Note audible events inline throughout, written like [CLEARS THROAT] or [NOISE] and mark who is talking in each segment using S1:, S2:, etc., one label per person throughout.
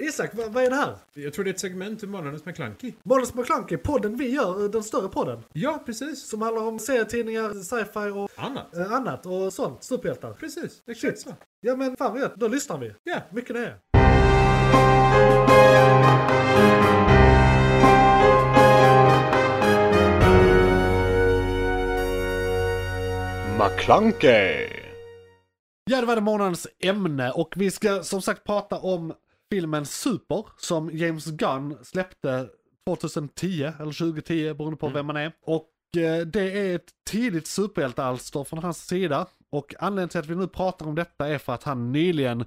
S1: Isak, vad, vad är det här?
S2: Jag tror det är ett segment ur Månadens McKlunky.
S1: Måns McClunky, podden vi gör, eh, den större podden.
S2: Ja, precis.
S1: Som handlar om serietidningar, sci-fi och
S2: Annat.
S1: eh, annat och sånt. Superhjältar.
S2: Precis, exakt så.
S1: Ja men fan vad gött, då lyssnar vi.
S2: Ja.
S1: Mycket det är.
S3: McClunkey!
S1: Ja, det var det månadens ämne och vi ska som sagt prata om filmen Super som James Gunn släppte 2010 eller 2010 beroende på vem man är. Och eh, det är ett tidigt superhjältealster från hans sida och anledningen till att vi nu pratar om detta är för att han nyligen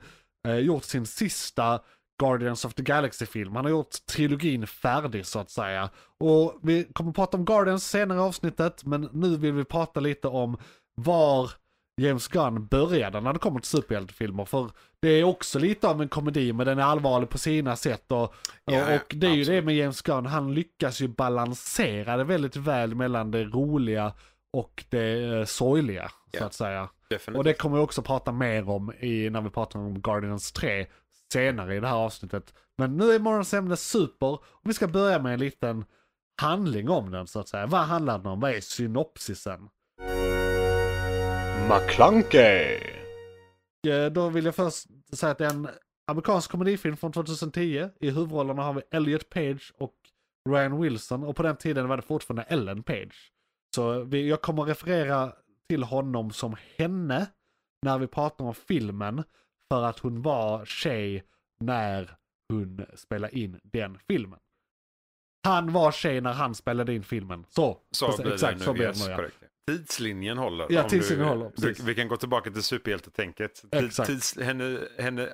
S1: eh, gjort sin sista Guardians of the Galaxy-film. Han har gjort trilogin färdig så att säga. Och vi kommer att prata om Guardians senare i avsnittet men nu vill vi prata lite om var James Gunn började när det kommer till superhjältefilmer. För det är också lite av en komedi men den är allvarlig på sina sätt. Och, och,
S3: ja,
S1: och det är ju det
S3: absolut.
S1: med James Gunn, han lyckas ju balansera det väldigt väl mellan det roliga och det eh, sorgliga så
S3: Ja.
S1: att säga.
S3: Definitivt.
S1: Och det kommer vi också prata mer om i, när vi pratar om Guardians 3 senare i det här avsnittet. Men nu är morgonens ämne super och vi ska börja med en liten handling om den så att säga. Vad handlar den om? Vad är synopsisen?
S3: McClunkey!
S1: Eh, Då vill jag först säga att det är en amerikansk komedifilm från 2010. I huvudrollerna har vi Elliot Page och Ryan Wilson och på den tiden var det fortfarande Ellen Page. Så vi, jag kommer referera till honom som henne när vi pratar om filmen för att hon var tjej när hon spelade in den filmen. Han var tjej när han spelade in filmen. Så,
S3: Så
S1: precis,
S3: blir
S1: exakt
S3: det nu.
S1: så blir
S3: yes,
S1: det nu. Ja.
S3: korrekt. Tidslinjen håller.
S1: Ja,
S3: om
S1: tidslinjen
S3: du,
S1: håller,
S3: Du,
S1: precis.
S3: vi kan gå tillbaka till superhjältetänket.
S1: Exakt.
S3: Tids, henne, henne,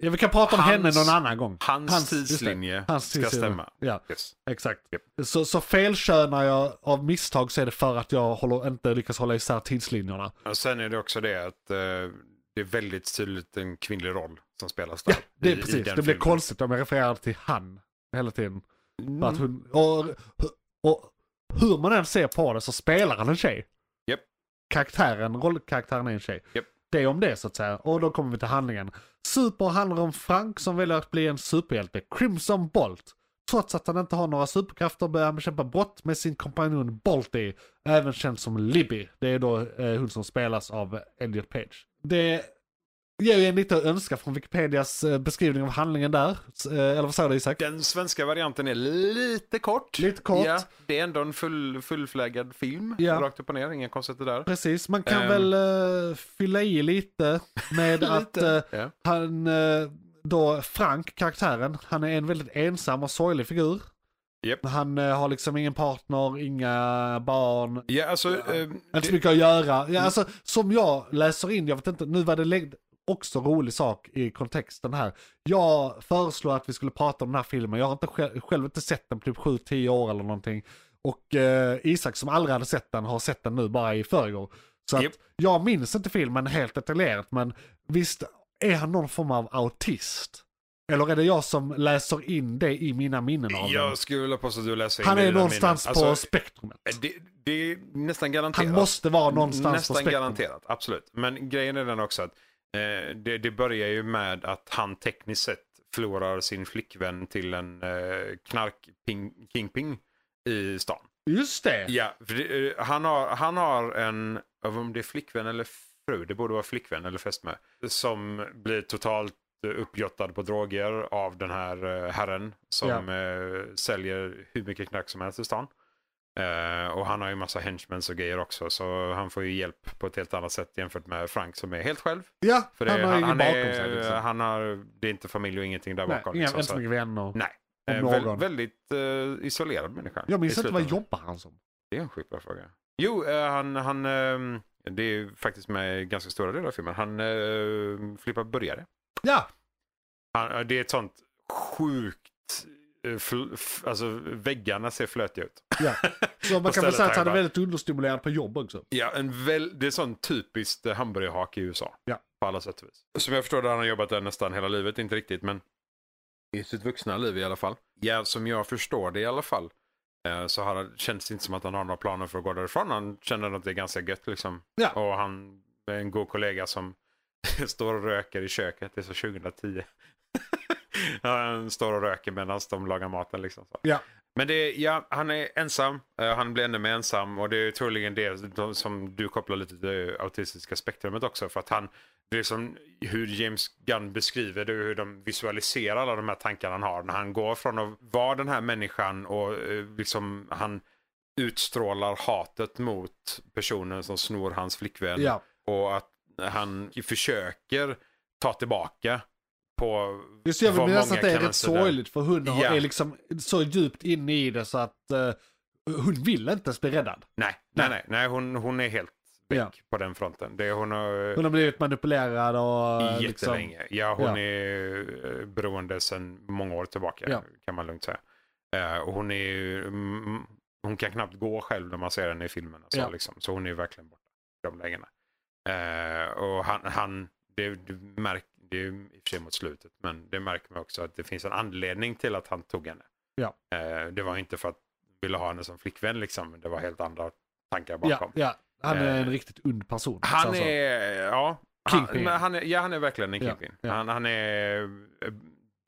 S1: Ja, vi kan prata om henne
S3: Hans-
S1: någon annan gång.
S3: hans,
S1: just det.
S3: tidslinje
S1: Hans
S3: ska
S1: tidslinje.
S3: stämma.
S1: Ja.
S3: Yes.
S1: Exakt.
S3: Japp.
S1: Så, så felkönar jag av misstag så är det för att jag håller, inte lyckas hålla isär tidslinjerna.
S3: Och sen är det också det att eh, det är väldigt tydligt en kvinnlig roll som spelas där.
S1: Det är
S3: i- i
S1: precis,
S3: den
S1: det blir
S3: filmen.
S1: konstigt om jag refererar till han hela tiden. För
S3: Mm.
S1: Att hon, och, och hur man än ser på det så spelar han en tjej.
S3: Japp.
S1: Karaktären, rollkaraktären är en tjej.
S3: Japp.
S1: Det är om det så att säga. Och då kommer vi till handlingen. Super handlar om Frank som väljer att bli en superhjälte, Crimson Bolt. Trots att han inte har några superkrafter börjar han bekämpa brott med sin kompanjon Bolty, även känd som Libby. Det är då eh, hon som spelas av Elliot Page. Det ger ju en lite att önska från Wikipedias eh, beskrivning av handlingen där. S- eh, Eller vad säger du Isak?
S3: Den svenska varianten är lite kort.
S1: Lite kort.
S3: Ja, det är ändå en full, fullflaggad film.
S1: Ja.
S3: Rakt upp och ner, inga konstigheter där.
S1: Precis, man kan
S3: Ehm.
S1: väl eh, fylla i lite
S3: [LAUGHS]
S1: med att eh,
S3: Ja.
S1: han, eh, då Frank, karaktären, han är en väldigt ensam och sorglig figur.
S3: Japp.
S1: Han eh, har liksom ingen partner, inga barn,
S3: Ja, alltså, eh,
S1: inte så
S3: det-
S1: mycket att göra. Ja, alltså, som jag läser in, jag vet inte, nu var det lägg- också rolig sak i kontexten här. Jag föreslår att vi skulle prata om den här filmen, jag har inte själv, själv inte sett den på typ 7-10 år eller någonting. Och eh, Isak som aldrig hade sett den har sett den nu bara i förrgår. Så att
S3: Japp.
S1: jag minns inte filmen helt detaljerat men visst är han någon form av autist? Eller är det jag som läser in det i mina minnen av den?
S3: jag skulle vilja påstå att du läser in
S1: Han
S3: i
S1: är
S3: dina
S1: någonstans
S3: minnen.
S1: på
S3: Alltså,
S1: spektrumet.
S3: det, det är nästan garanterat.
S1: Han måste vara någonstans
S3: Nästan
S1: på spektrumet.
S3: garanterat, absolut. Men grejen är den också att eh, det, det börjar ju med att han tekniskt sett förlorar sin flickvän till en eh, knark-kingping i stan.
S1: Just det.
S3: Ja, för det, eh, han, har, han har en, jag vet om det är flickvän eller fru, det borde vara flickvän eller fästmö, som blir totalt eh, uppjottad på droger av den här eh, herren som eh, säljer hur mycket knark som helst i stan. Eh, och han har ju massa henchmans och grejer också så han får ju hjälp på ett helt annat sätt jämfört med Frank som är helt själv.
S1: Ja,
S3: För det,
S1: han har
S3: han,
S1: ingen
S3: han,
S1: bakom
S3: är,
S1: sig. Liksom.
S3: han har, det är inte familj och ingenting där
S1: Nej,
S3: bakom.
S1: inga,
S3: liksom,
S1: inte
S3: så
S1: så mycket vänner.
S3: Nej.
S1: om
S3: eh, vä-
S1: någon.
S3: väldigt eh, isolerad människa.
S1: Jag
S3: i
S1: minns inte vad
S3: slutändan.
S1: jobbar han som.
S3: Det är en sjukt bra fråga. Jo, eh, han, han eh, det är ju faktiskt med i ganska stora delar av filmen. Han eh, flippar burgare.
S1: Ja,
S3: Han, eh, det är ett sånt sjukt, eh, fl, f, alltså väggarna ser flötiga ut.
S1: ja. Så man
S3: På
S1: kan väl
S3: stället
S1: säga att han är
S3: här,
S1: väldigt understimulerad på jobb också.
S3: Ja, en väl, det är sån typiskt eh, hamburgerhak i USA.
S1: Ja.
S3: På alla sätt och vis. Som jag förstår det har han jobbat där nästan hela livet, inte riktigt men i sitt vuxna liv i alla fall. Ja, som jag förstår det i alla fall eh, så har, han- känns det inte som att han har några planer för att gå därifrån. Han känner att det är ganska gött liksom.
S1: Ja.
S3: Och han [LAUGHS] är en god kollega som står och röker i köket, det är så 2010. han står och röker medan de lagar maten. Liksom, så.
S1: Ja.
S3: Men det är, ja, han är ensam, Eh, han blir ännu mer ensam och det är troligen det de- som du kopplar lite till det autistiska spektrumet också. För att han, det är som hur James Gunn beskriver det, hur de visualiserar alla de här tankarna han har. När han går från att vara den här människan och eh, liksom han utstrålar hatet mot personen som snor hans flickvän
S1: Ja.
S3: och att han försöker ta tillbaka på
S1: Just det, jag vill
S3: vad
S1: minnas
S3: många
S1: att det är
S3: kan
S1: rätt
S3: anse det.
S1: sorgligt för hon har-
S3: Ja.
S1: är liksom så djupt inne i det så att eh, hon vill inte ens bli räddad.
S3: Nej, nej, nej, nej hon, hon är helt väck
S1: Ja.
S3: på den fronten. Det, hon har eh,
S1: Hon har blivit manipulerad och... eh, Liksom,
S3: jättelänge. Ja, hon
S1: ja.
S3: är eh, beroende sedan många år tillbaka
S1: Ja.
S3: kan man lugnt säga. Eh, och hon är ju, mm, hon kan knappt gå själv när man ser henne i filmen. Alltså,
S1: Ja.
S3: liksom. Så hon är verkligen borta i de lägena. Eh, och han, han det, du märk, det är ju i och för sig mot slutet, men det märker man också att det finns en anledning till att han tog henne.
S1: Ja.
S3: Eh, det var inte för att han ville ha henne som flickvän, liksom. det var helt andra tankar bakom.
S1: ja, ja, han är en
S3: Eh,
S1: riktigt ond person.
S3: Han
S1: alltså.
S3: är, ja.
S1: Kingpin.
S3: Han, men han är, ja, han är verkligen en
S1: Ja,
S3: kingpin.
S1: ja.
S3: Han, han är eh,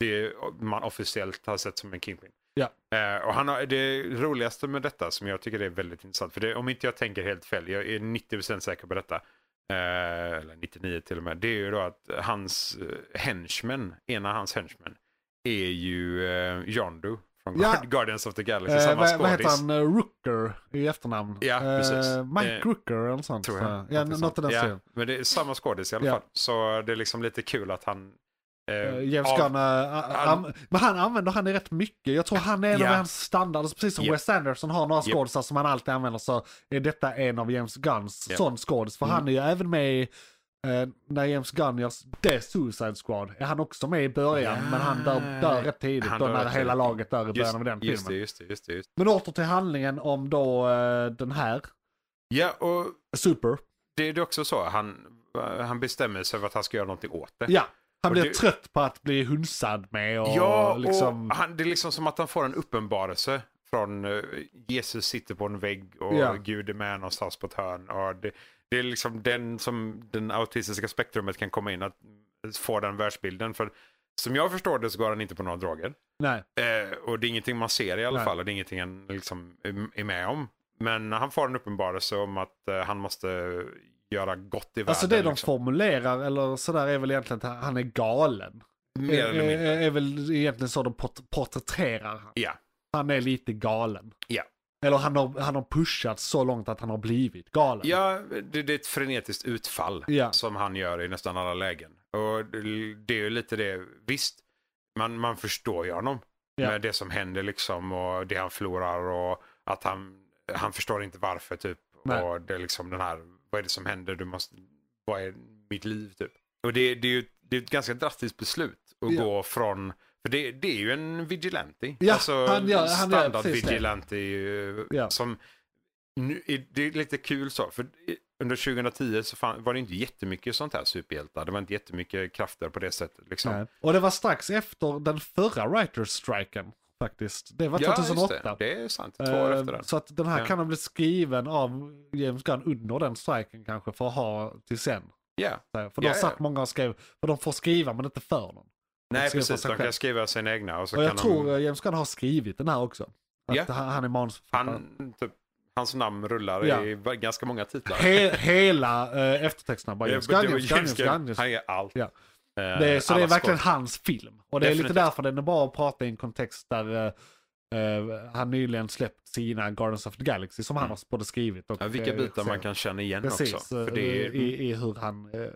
S3: det man officiellt har sett som en kingpin.
S1: Ja.
S3: Eh, och han har, det roligaste med detta som jag tycker är väldigt intressant, för det, om inte jag tänker helt fel, jag är 90% säker på detta, eh, eller 99 till och med, det är ju då att hans eh, henchmen, ena av hans henchmen, är ju eh, Yondu från
S1: Ja.
S3: Guard- Guardians of the Galaxy,
S1: Eh,
S3: samma
S1: vad, vad heter
S3: skådis.
S1: han? Eh, Rooker i efternamn.
S3: Ja, precis.
S1: Eh, Mike
S3: Eh,
S1: Rooker eller något sånt.
S3: Tror jag.
S1: Ja, något i den
S3: ja,
S1: stilen.
S3: Men det är samma skådis i alla
S1: Ja.
S3: fall. Så det är liksom lite kul att han... eh,
S1: Eh, James
S3: av-
S1: Gunn, eh, a-
S3: han-
S1: am- men han använder han är rätt mycket. Jag tror han är en av
S3: Ja.
S1: hans standards, precis som
S3: Ja.
S1: Wes Anderson har några
S3: Ja.
S1: skådisar som han alltid använder så är detta en av James Gunns
S3: Ja. Mm.
S1: sån skådis. För han är ju även med i, eh, när James Gunn gör The Suicide Squad, är han också med i början
S3: Ja.
S1: men han dör, dör rätt tidigt
S3: Han
S1: då
S3: dör
S1: när
S3: rätt
S1: hela
S3: tidigt.
S1: laget dör i
S3: Just,
S1: början av den
S3: just det,
S1: filmen.
S3: just det, just det. Just.
S1: Men åter till handlingen om då eh, den här,
S3: det. Ja, och
S1: Super.
S3: det är det också så. Han, han bestämmer sig för att han ska göra någonting åt det.
S1: Ja, han
S3: Och
S1: blir
S3: det-
S1: trött på att bli hunsad med och
S3: Ja, och
S1: liksom...
S3: han, det är liksom som att han får en uppenbarelse från eh, Jesus sitter på en vägg och
S1: Ja.
S3: Gud är med någonstans på ett hörn. Och det, det är liksom den som den autistiska spektrumet kan komma in att få den världsbilden. För som jag förstår det så går han inte på några droger.
S1: Nej,
S3: Eh, och det är ingenting man ser i alla
S1: Nej.
S3: fall och det är ingenting han liksom är- är med om. Men han får en uppenbarelse om att eh, han måste göra gott i världen.
S1: alltså det de
S3: liksom.
S1: formulerar eller sådär är väl egentligen att han är galen.
S3: Mer eller
S1: är,
S3: mindre.
S1: är, är väl egentligen så de port- porträtterar han.
S3: Ja.
S1: Han är lite galen.
S3: Ja.
S1: Eller han har, han har pushat så långt att han har blivit galen.
S3: Ja, det, det är ett frenetiskt utfall
S1: Ja.
S3: som han gör i nästan alla lägen. Och det, det är ju lite det, visst, man, man förstår ju honom.
S1: Ja.
S3: Med det som händer liksom och det han förlorar och att han, han förstår inte varför typ.
S1: Nej.
S3: Och det är liksom den här, vad är det som händer, du måste, vad är mitt liv typ. Och det, det är ju det är ett ganska drastiskt beslut att
S1: Ja.
S3: gå från, för det, det är ju en vigilante.
S1: Ja,
S3: alltså
S1: han gör- han gör
S3: standard
S1: precis det.
S3: vigilante eh,
S1: Ja.
S3: som nu, är- det är lite kul så, för i- under 2010 så fan, var det inte jättemycket sånt här superhjältar. Det var inte jättemycket krafter på det sättet. Liksom.
S1: Nej. Och det var strax efter den förra writers striken faktiskt. Det var
S3: Ja,
S1: 2008.
S3: just det. Det är sant. Två år
S1: Eh,
S3: efter den.
S1: Så att den här
S3: Ja.
S1: kan ha blivit skriven av James Gunn under den striken kanske för att ha till sen. Eh,
S3: Ja.
S1: För då
S3: Ja, ja.
S1: satt många och skrev, för de får skriva men inte för någon.
S3: Nej,
S1: skriva för
S3: precis.
S1: sig
S3: De
S1: själv.
S3: kan skriva sina egna. Och så
S1: Och jag
S3: kan
S1: tror
S3: de,
S1: eh, James Gunn har skrivit den här också. Att
S3: Ja.
S1: han, han är manusförfattare.
S3: han, typ, hans namn rullar
S1: Ja.
S3: i va- ganska många titlar.
S1: He, hela eh, eftertexterna bara
S3: Eh,
S1: James
S3: det var
S1: Gunn, James Gunn, James Gunn. James Gunn.
S3: Han är allt.
S1: Ja.
S3: Eh,
S1: Det är, så det är
S3: alla
S1: verkligen
S3: skåd-
S1: hans film. Och det är lite
S3: Definitivt.
S1: därför den är bra att prata i en kontext där eh, eh, han nyligen släppt sina Guardians of the Galaxy som han har både skrivit och...
S3: Mm. Ja, vilka
S1: eh,
S3: bitar man
S1: regisserat.
S3: kan känna igen
S1: Precis,
S3: också. För det är,
S1: eh, i, i hur han... eh,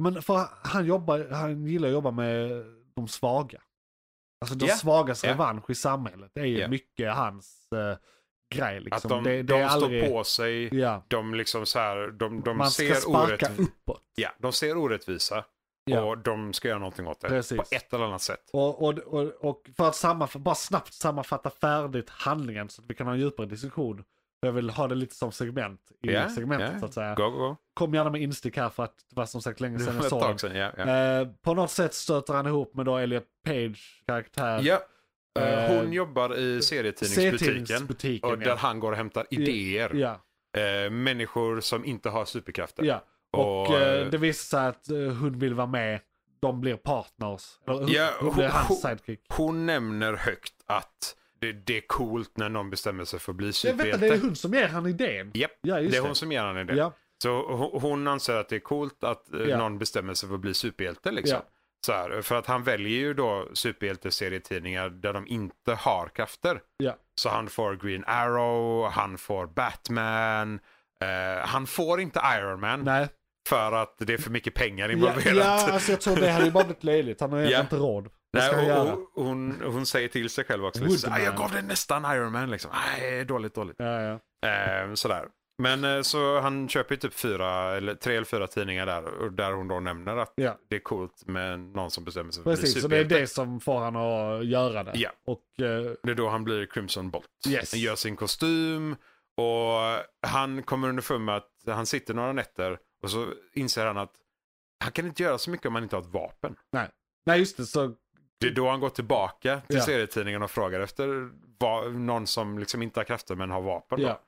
S1: Men för han, jobbar, han gillar att jobba med de svaga. Alltså de
S3: Ja,
S1: svagas
S3: ja.
S1: revansch i samhället. Det är ju
S3: Ja.
S1: mycket hans eh, grej
S3: att
S1: liksom.
S3: de,
S1: det, det
S3: de
S1: är aldrig,
S3: står på sig.
S1: Ja,
S3: De liksom så här, de, de
S1: man ska
S3: ser
S1: sparka
S3: orätt...
S1: uppåt.
S3: Ja, de ser orättvisa
S1: Ja.
S3: och de ska göra någonting åt det.
S1: Precis.
S3: På ett eller annat sätt.
S1: Och, och, och, och för att sammanf- bara snabbt sammanfatta färdigt handlingen så att vi kan ha en djupare diskussion. Jag vill ha det lite som segment i
S3: Ja,
S1: segmentet
S3: ja.
S1: så att säga.
S3: Go, go, go.
S1: Kom gärna med instick här för att det var som sagt länge
S3: Det
S1: sedan
S3: var
S1: jag
S3: ett
S1: såg den.
S3: tag sedan, ja. ja.
S1: Eh, på något sätt stöter han ihop med då Elliot Page karaktär.
S3: ja.
S1: eh,
S3: Eh, hon jobbar i serietidningsbutiken.
S1: serietidningsbutiken,
S3: Och där
S1: ja.
S3: han går och hämtar idéer.
S1: Ja,
S3: Eh, människor som inte har superkrafter.
S1: ja. Och,
S3: Och,
S1: eh,
S3: eh,
S1: det visar sig att eh, hon vill vara med. de blir partners. Eller hon,
S3: Ja,
S1: hon blir
S3: hon- typ
S1: hans
S3: hon-
S1: sidekick.
S3: Hon nämner högt att det, det är coolt när någon bestämmer sig för att bli
S1: Jag vet att det är
S3: superhjälte.
S1: hon som ger han idén.
S3: Japp,
S1: Ja, just
S3: det är
S1: det.
S3: hon som ger henne det.
S1: Ja.
S3: Så ho- hon anser att det är coolt att eh,
S1: Ja.
S3: någon bestämmer sig för att bli superhjälte. Liksom.
S1: Ja.
S3: Så här, för att han väljer ju då superhjälteserietidningar där de inte har krafter.
S1: Ja.
S3: Så han får Green Arrow, han får Batman, eh, han får inte Iron Man
S1: Nej.
S3: för att det är för mycket pengar
S1: Ja,
S3: involverat.
S1: ja, alltså jag tror det hade ju bara blivit löjligt. Han har ju
S3: Ja.
S1: inte råd. Vad ska han
S3: Nej, och,
S1: göra?
S3: och, hon, hon säger till sig själv också, liksom, så här,
S1: Woodman.
S3: jag gav dig nästan Iron Man. Liksom. Nej, dåligt, dåligt.
S1: Ja, ja.
S3: Eh, sådär. Men eh, så han köper ju typ fyra, eller tre eller fyra tidningar där, och där hon då nämner att
S1: Ja.
S3: det är coolt med någon som bestämmer sig för att bli
S1: Precis, så det är
S3: superhjälte.
S1: det som får han att göra det.
S3: Ja.
S1: Och eh,
S3: Det är då han blir Crimson Bolt.
S1: Yes.
S3: Han gör sin kostym och han kommer underfund med att han sitter några nätter och så inser han att han kan inte göra så mycket om han inte har ett vapen.
S1: nej just det, så
S3: Det är då han går tillbaka till
S1: Ja.
S3: serietidningen och frågar efter vad, någon som liksom inte har krafter men har vapen. Då.
S1: ja.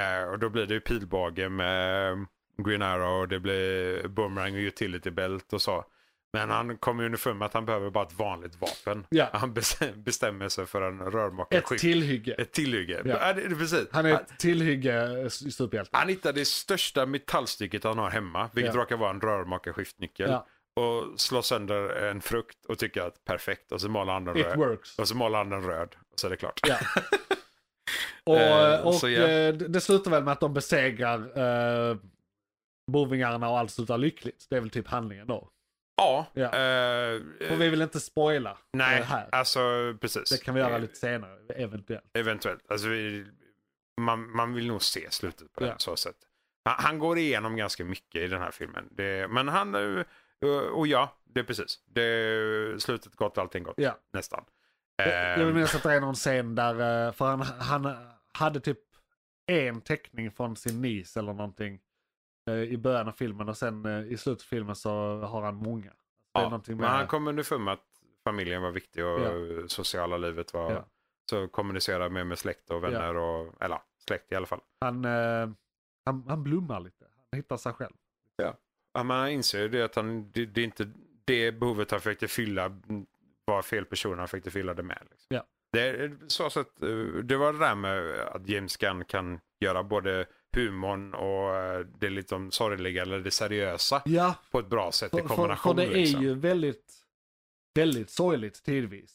S3: Eh, och då blir det ju pilbåge med eh, Green Arrow och det blir boomerang och utility belt och så. Men han kommer ju underfund med att han behöver bara ett vanligt vapen.
S1: Ja.
S3: Han bes- [LAUGHS] bestämmer sig för en rörmokare.
S1: Ett tillhygge.
S3: Ett tillhygge.
S1: Ja.
S3: Ja. det- det- Precis.
S1: Han
S3: Han,
S1: är ett tillhygge eh, superhjälte.
S3: han hittar det största metallstycket han har hemma, vilket
S1: Ja.
S3: råkar vara en rörmokarskiftnyckel.
S1: Ja.
S3: Och slår sönder en frukt och tycker att perfekt. Och så målar han den
S1: It
S3: röd.
S1: works.
S3: Och så målar han den röd. Och så är det klart.
S1: Ja. Och,
S3: Eh,
S1: och
S3: så ja.
S1: eh, det det slutar väl med att de besegrar eh, bovingarna och allt slutar lyckligt. Det är väl typ handlingen då.
S3: Ja.
S1: Ja.
S3: eh,
S1: Och vi vill inte spoila
S3: nej,
S1: eh, här.
S3: alltså precis.
S1: Det kan vi göra lite senare, eventuellt.
S3: Eventuellt. Alltså, vi, man, man vill nog se slutet på det.
S1: Ja.
S3: Så sätt. Han, han går igenom ganska mycket i den här filmen. Det, men han, eh, och ja, det är precis. Det, är slutet gott, allting gott.
S1: Ja.
S3: Nästan.
S1: Jag jag
S3: Ehm,
S1: vill minnas att det är någon scen där, eh, för han, han hade typ en teckning från sin niece eller någonting eh, i början av filmen och sen eh, i slutet av filmen så har han många. Det är
S3: ja.
S1: någonting
S3: Men
S1: med,
S3: han kom underfund med att familjen var viktig och
S1: Ja.
S3: sociala livet var...
S1: Ja.
S3: Så kommunicera med, med släkt och vänner och... Eller släkt i alla fall.
S1: han, eh, han, han blommar lite. Han hittar sig själv.
S3: Ja, man inser ju det att han, det, det är inte det behovet han försökte fylla var fel person han försökte fylla det med. Liksom.
S1: Ja.
S3: Det, är, så att, eh, det var det där med att James Gunn kan göra både humorn och eh, det liksom sorgliga eller det seriösa
S1: Ja,
S3: på ett bra sätt i
S1: för, för, för
S3: kombination.
S1: det är
S3: liksom.
S1: ju väldigt, väldigt sorgligt tidvis.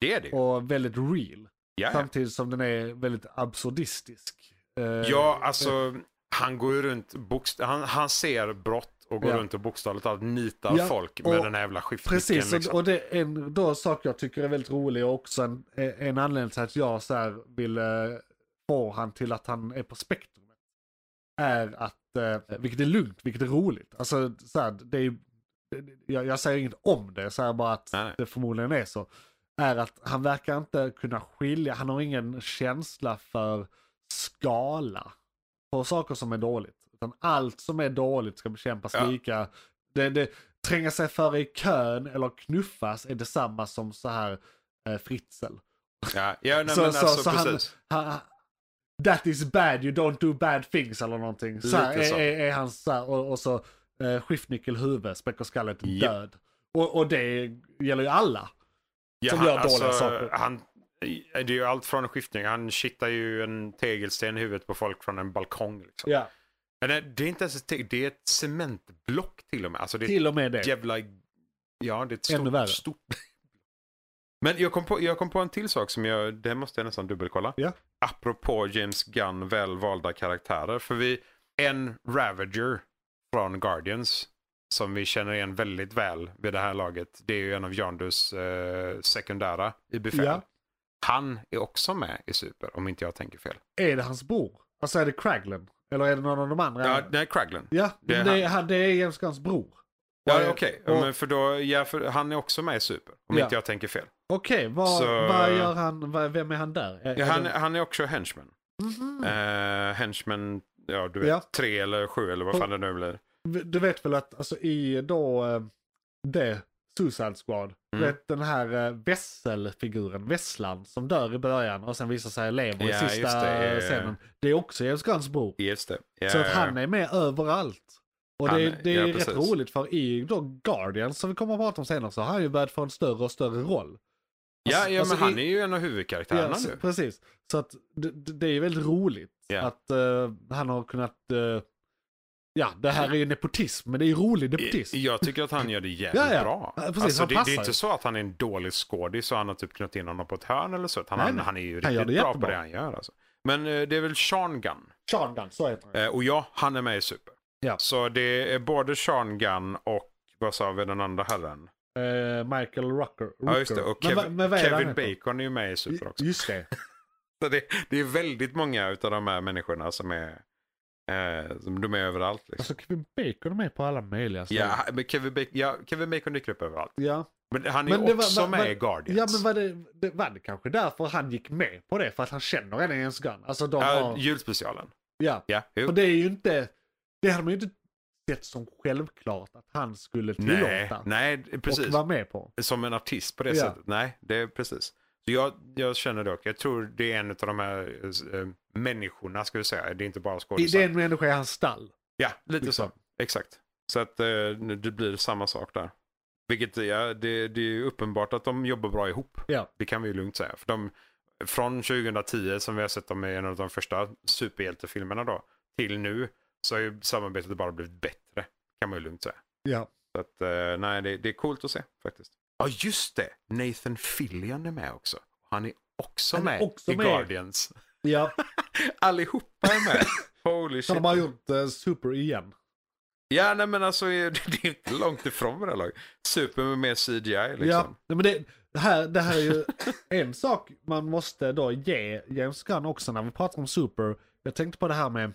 S3: det är det ju.
S1: Och väldigt real.
S3: Ja, ja.
S1: Samtidigt som den är väldigt absurdistisk. Eh,
S3: ja, alltså han går ju runt, bokst- han, han ser brott och går
S1: Ja.
S3: runt och bokstavligt talat nitar
S1: Ja,
S3: folk med
S1: och-
S3: den här jävla skiftnyckeln.
S1: Precis, och-
S3: liksom.
S1: och det är en då, sak jag tycker är väldigt rolig och också en, en anledning till att jag så här vill eh, få han till att han är på spektrumet. Är att, eh, vilket är lugnt, vilket är roligt. Alltså så här, det är ju- jag, jag säger inget om det, så här bara att
S3: Nej.
S1: det förmodligen är så. Är att han verkar inte kunna skilja, han har ingen känsla för skala på saker som är dåligt. Utan allt som är dåligt ska bekämpas
S3: Ja.
S1: lika. Det, det, tränga sig före i kön eller knuffas är detsamma som så här eh, fritzel.
S3: ja, ja, nej,
S1: så-
S3: men
S1: så-
S3: alltså,
S1: så han-
S3: precis.
S1: Ha, that is bad, you don't do bad things eller någonting. Så här,
S3: Lite
S1: är,
S3: så.
S1: är, är han så här, och, och så eh, skiftnyckel huvud, späck och skallet
S3: Japp.
S1: död. Och, och det gäller ju alla. som gör dåliga saker.
S3: Han, det är ju allt från skiftning. Han kittar ju en tegelsten i huvudet på folk från en balkong. Liksom.
S1: Ja.
S3: Men det- det är inte ens ett tegel, det är ett cementblock till och med. Alltså det är
S1: Till och med
S3: ett
S1: det.
S3: jävla... Ja, det är ett
S1: Ännu värre.
S3: stort... stort... Men jag kom, på, jag kom på en till sak som jag, det måste jag nästan dubbelkolla.
S1: Ja.
S3: Apropå James Gunn välvalda karaktärer. För vi, en Ravager från Guardians som vi känner igen väldigt väl vid det här laget. Det är ju en av Yondus eh, sekundära i befäl.
S1: Ja.
S3: Han är också med i Super, om inte jag tänker fel.
S1: Är det hans bror? Alltså är det Craglen? Eller är det någon av de andra?
S3: Ja, nej, Craglan.
S1: Ja,
S3: Det är
S1: men det, är han. det är James Gunns bror.
S3: Ja,
S1: Och-
S3: okej.
S1: och-
S3: Men för då, ja, för han är också med i Super, om
S1: Ja.
S3: inte jag tänker fel.
S1: Okej, vad,
S3: Så-
S1: vad gör han? Vad, vem är han där? Är,
S3: Ja,
S1: är
S3: han,
S1: det-
S3: han är också henchman.
S1: Mhm.
S3: Eh, henchman, ja du vet,
S1: Ja.
S3: tre eller sju eller vad fan det nu blir.
S1: Du vet väl att alltså, i då eh, det Suicide Squad, du
S3: Mm.
S1: vet den här eh, vesselfiguren, vesslan som dör i början och sen visar sig lever i
S3: Ja,
S1: sista
S3: just det, ja, ja, ja.
S1: scenen. Det är också James Gunns bror.
S3: Just det. Eh, Ja,
S1: Så att
S3: ja,
S1: han
S3: ja.
S1: är med överallt. Och
S3: Han-
S1: det, är- det
S3: ja,
S1: är rätt
S3: precis.
S1: roligt för i då Guardians som vi kommer att prata om senare så har han ju börjat få en större och större roll.
S3: Ja, ja
S1: alltså,
S3: men han
S1: i-
S3: är ju en av huvudkaraktärerna
S1: Ja,
S3: nu.
S1: precis. Så att det, det det är ju väldigt roligt
S3: Ja.
S1: att eh, han har kunnat... eh, ja, det här är ju nepotism, men det är ju rolig nepotism.
S3: Jag tycker att han
S1: [LAUGHS]
S3: gör det jävligt
S1: Ja, ja.
S3: bra.
S1: Ja, precis,
S3: alltså,
S1: han
S3: det, det är
S1: passar.
S3: inte så att han är en dålig skådis och han har typ knött in honom på ett hörn eller så. Han,
S1: Nej,
S3: han,
S1: nej.
S3: han är ju
S1: Han gör
S3: riktigt bra
S1: det
S3: på
S1: jättebra.
S3: det han gör. Alltså. Men eh, det är väl Sean Gunn.
S1: Sean Gunn, så heter han.
S3: Eh, och ja, han är med i Super.
S1: Ja.
S3: Så det är både Sean Gunn och vad sa vi den andra herren?
S1: Eh, Michael Rucker.
S3: Ja just det, och
S1: Men
S3: Kev-
S1: vad- men vad är det han
S3: Kevin
S1: heter?
S3: Bacon är ju med i Super också.
S1: Just det.
S3: Så det, det är väldigt många av de här människorna som är, eh, som- de är överallt. Liksom.
S1: Alltså Kevin Bacon är med på alla möjliga ställen.
S3: Ja, men Kevin, Bacon, ja, Kevin Bacon dyker upp överallt.
S1: Ja.
S3: Men han är
S1: Men det var-
S3: också
S1: var-
S3: med
S1: var-
S3: i Guardians.
S1: Ja men var det, det, var det kanske därför han gick med på det? För att han känner en James Gunn? Alltså de
S3: Ja,
S1: har...
S3: julspecialen.
S1: Ja.
S3: Ja, jo.
S1: För det är ju inte... Det hade man ju inte sett som självklart att han skulle
S3: nej,
S1: tillåta.
S3: nej, precis.
S1: Och vara med på.
S3: Som en artist på det
S1: Ja.
S3: sättet. Nej, det är precis. Så jag, jag känner dock, jag tror det är en av de här eh, människorna, ska vi säga. Det är inte bara
S1: Det, det
S3: skådisar.
S1: är en människa i hans stall.
S3: Ja, lite
S1: liksom.
S3: så. Exakt. Så att eh, nu- det blir samma sak där. Vilket ja, det, det är ju uppenbart att de jobbar bra ihop.
S1: Ja.
S3: Det kan vi ju lugnt säga. För de, från 2010 som vi har sett dem i en av de första superhjältefilmerna då, till nu så har ju samarbetet bara blivit bättre. Kan man ju lugnt säga.
S1: Ja.
S3: Så att, eh, nej, det, det är coolt att se faktiskt. Ja, just det. Nathan Fillion är med också. Han är också
S1: Han är
S3: med
S1: också
S3: i
S1: med.
S3: Guardians.
S1: Ja.
S3: Allihopa är [LAUGHS] med. Holy
S1: Så
S3: shit.
S1: de har gjort eh, Super igen.
S3: Ja, nej men alltså [LAUGHS] det är inte långt ifrån med det här laget. Super med mer CGI liksom.
S1: Ja. Nej, men det, det, här, det här är
S3: [LAUGHS]
S1: ju en sak man måste då ge James Gunn också när vi pratar om Super. Jag tänkte på det här med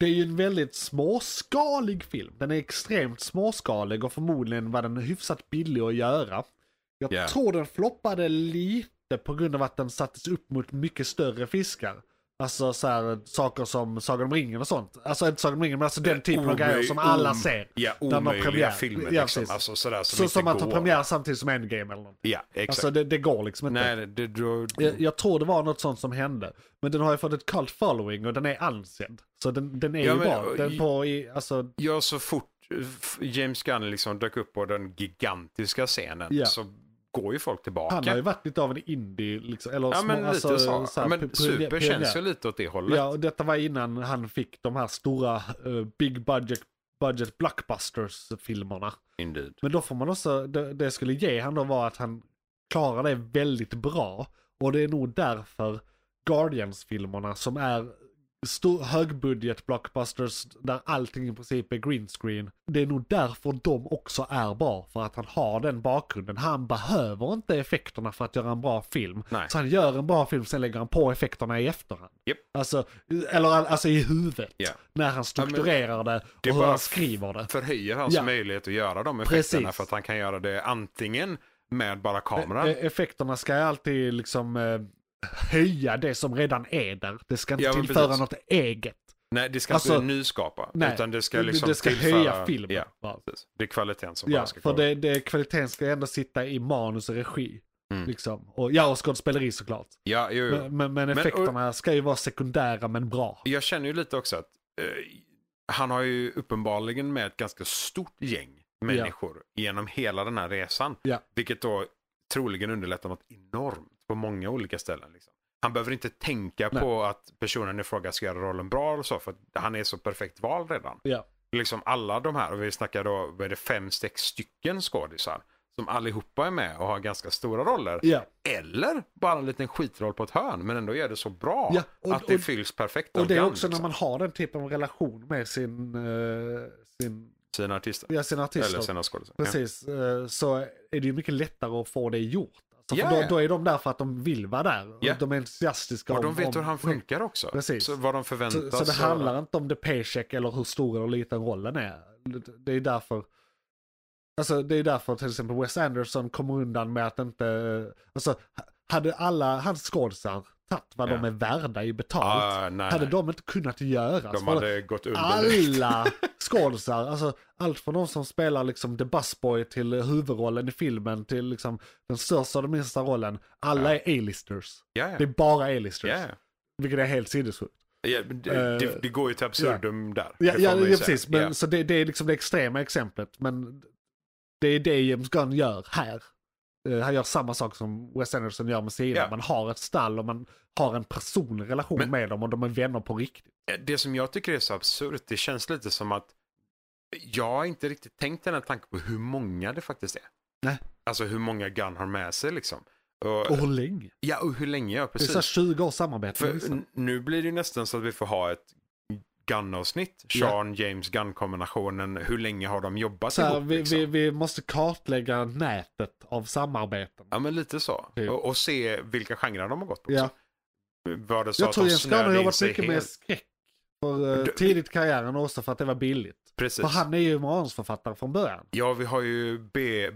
S1: det är ju en väldigt småskalig film. Den är extremt småskalig och förmodligen var den hyfsat billig att göra. Jag
S3: Ja.
S1: tror den floppade lite på grund av att den sattes upp mot mycket större fiskar. Alltså så här, saker som Sagan om ringen och sånt. Alltså inte Sagan om ringen men alltså den typen av
S3: Omöj-
S1: grejer som alla
S3: om-
S1: ser.
S3: Ja,
S1: När man har premiär.
S3: omöjliga filmer
S1: Ja,
S3: liksom.
S1: precis.
S3: Alltså sådär som
S1: Så
S3: inte
S1: som att
S3: går.
S1: ha premiär samtidigt som Endgame eller något.
S3: Ja, exakt.
S1: Alltså det, det går liksom inte.
S3: nej, det, då,
S1: Jag, jag tror det var något sånt som hände. Men den har ju fått ett cult following och den är ansedd. Så den, den är
S3: Ja,
S1: ju
S3: men-
S1: bra. Den på i, alltså,
S3: jag så fort eh, f- James Gunn liksom dök upp på den gigantiska scenen
S1: Ja.
S3: så går ju folk tillbaka.
S1: han har ju varit lite av en indie liksom. Eller
S3: Ja
S1: små-
S3: men
S1: alltså,
S3: lite så.
S1: här,
S3: men
S1: pi- pi-
S3: Super känns ju
S1: pionjär.
S3: lite åt det hållet.
S1: Ja, och detta var innan han fick de här stora eh, big budget, budget blockbusters-filmerna.
S3: Indeed.
S1: Men då får man också, det, det jag skulle ge han då var att han klarar det väldigt bra. Och det är nog därför Guardians-filmerna som är stor, högbudget blockbusters där allting i princip är green screen. Det är nog därför de också är bra. För att han har den bakgrunden. Han behöver inte effekterna för att göra en bra film.
S3: Nej.
S1: Så han gör en bra film, sen lägger han på effekterna i efterhand.
S3: Japp.
S1: Alltså, eller alltså i huvudet.
S3: Ja.
S1: När han strukturerar det och
S3: det är
S1: hur
S3: bara
S1: han skriver det.
S3: Förhöjer hans
S1: Ja.
S3: möjlighet att göra de effekterna
S1: Precis.
S3: för att han kan göra det antingen med bara kameran.
S1: E- Effekterna ska alltid liksom eh, höja det som redan är där. Det ska inte
S3: Ja, men
S1: tillföra
S3: precis.
S1: något eget.
S3: nej, det ska
S1: alltså-
S3: inte nyskapa.
S1: nej,
S3: utan det ska
S1: det-
S3: liksom
S1: det ska
S3: tillföra,
S1: höja filmen.
S3: Ja,
S1: va?
S3: precis. Det är kvaliteten som
S1: Ja,
S3: bara ska
S1: för
S3: komma.
S1: det, det, kvaliteten ska ändå sitta i manus och regi.
S3: Mm.
S1: Liksom. Och, ja, och skådespeleri såklart.
S3: Ja, jo, jo.
S1: Men, men, men
S3: och-
S1: effekterna ska ju vara sekundära men bra.
S3: Jag känner ju lite också att eh, han har ju uppenbarligen med ett ganska stort gäng människor genom hela den här resan.
S1: Ja.
S3: Vilket då troligen underlättar något enormt på många olika ställen. Liksom. Han behöver inte tänka
S1: Nej.
S3: på att personen i fråga ska göra rollen bra eller så, för att han är så perfekt val redan.
S1: Ja.
S3: Liksom alla de här, och vi snackar då, vad är det, fem, sex stycken skådisar som allihopa är med och har ganska stora roller.
S1: Ja.
S3: Eller bara en liten skitroll på ett hörn, men ändå gör det så bra
S1: Ja, och-
S3: att det
S1: och-
S3: fylls perfekt av
S1: Och det är
S3: Gunn,
S1: också när
S3: liksom.
S1: man har den typen av relation med sin, eh, sin,
S3: sina artister.
S1: ja, sina artister.
S3: Eller sina skådespelare.
S1: Precis, eh, så är det ju mycket lättare att få det gjort. Alltså,
S3: Ja,
S1: för
S3: ja.
S1: då, då är de där för att de vill vara där.
S3: Ja.
S1: Och de är entusiastiska.
S3: Ja. Och
S1: om-
S3: de vet
S1: om-
S3: hur han funkar också.
S1: Precis.
S3: Så vad de
S1: Så,
S3: förväntas.
S1: så det
S3: och-
S1: handlar inte om the paycheck eller hur stor eller liten rollen är. Det- Det är därför Alltså det är därför till exempel Wes Anderson kommer undan med att inte, alltså hade alla hans skådisar tagit vad
S3: Ja.
S1: de är värda i betalt,
S3: Ah, nej,
S1: hade
S3: nej.
S1: de Alltså, inte kunnat göras.
S3: de
S1: För-
S3: hade gått under. direkt.
S1: alla
S3: [LAUGHS]
S1: skådisar, alltså allt från de som spelar liksom The Busboy till huvudrollen i filmen till liksom den största och den minsta rollen. Alla är A-listers.
S3: Ja,
S1: Det
S3: ja.
S1: är bara A-listers.
S3: Ja, ja.
S1: Vilket är helt sinnessjukt.
S3: Ja, det,
S1: Eh,
S3: det, det går ju till absurdum där.
S1: Ja,
S3: Det får
S1: ja,
S3: man ju
S1: ja
S3: säga.
S1: precis. Men,
S3: Ja.
S1: Så det, det är liksom det extrema exemplet. Men det är det James Gunn gör här. Eh, han gör samma sak som Wes Anderson gör med sina.
S3: Ja.
S1: Man har ett stall och man har en personlig relation
S3: Men-
S1: med dem och de är vänner på riktigt.
S3: Eh, Det som jag tycker är så absurt, det känns lite som att jag har inte riktigt tänkt den här tanken på hur många det faktiskt är.
S1: Nej.
S3: Alltså hur många Gun har med sig liksom. Och,
S1: Och hur länge?
S3: Ja, och hur länge, ja
S1: Det är så här
S3: precis.
S1: 20 års samarbete.
S3: För
S1: liksom.
S3: n- nu blir det ju nästan så att vi får ha ett Gun-avsnitt.
S1: Ja.
S3: Sean, James, Gun-kombinationen. Hur länge har de jobbat
S1: så här,
S3: ihop?
S1: vi,
S3: liksom?
S1: vi, vi måste kartlägga nätet av samarbeten.
S3: Ja, men lite så.
S1: Typ.
S3: Och, och se vilka genrer de har gått på.
S1: Ja.
S3: också. Var det så
S1: Jag
S3: att
S1: tror
S3: de
S1: James Gunn har
S3: snöade in
S1: jobbat
S3: sig
S1: mycket med
S3: helt?
S1: skräck. För, eh,
S3: Du-
S1: tidigt i karriären och också för att det var billigt.
S3: Precis.
S1: För han är ju manusförfattare från början.
S3: Ja, vi har ju B-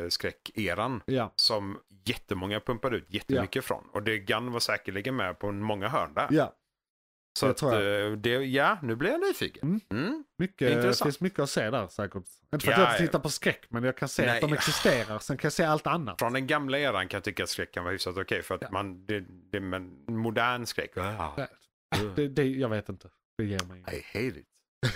S3: B-skräck-eran.
S1: Ja.
S3: som jättemånga pumpade ut jättemycket från. Och det Gunn var säkerligen med på många hörn där.
S1: ja.
S3: så
S1: det
S3: att,
S1: tror
S3: eh, det, ja, nu blir jag nyfiken.
S1: Mm.
S3: Mm. Det är
S1: Mycket, det
S3: intressant.
S1: finns mycket att se där säkert. Inte för att
S3: Ja,
S1: jag inte
S3: ja.
S1: tittar på skräck, men jag kan se att
S3: Nej.
S1: de existerar. Sen kan jag se allt annat.
S3: Från den gamla eran kan jag tycka att skräck kan vara hyfsat okej. för att
S1: Ja.
S3: man, det, det är en modern skräck. Ah,
S1: Nej, Det, det, jag vet inte. Det ger mig inget.
S3: I
S1: [LAUGHS]
S3: hate it.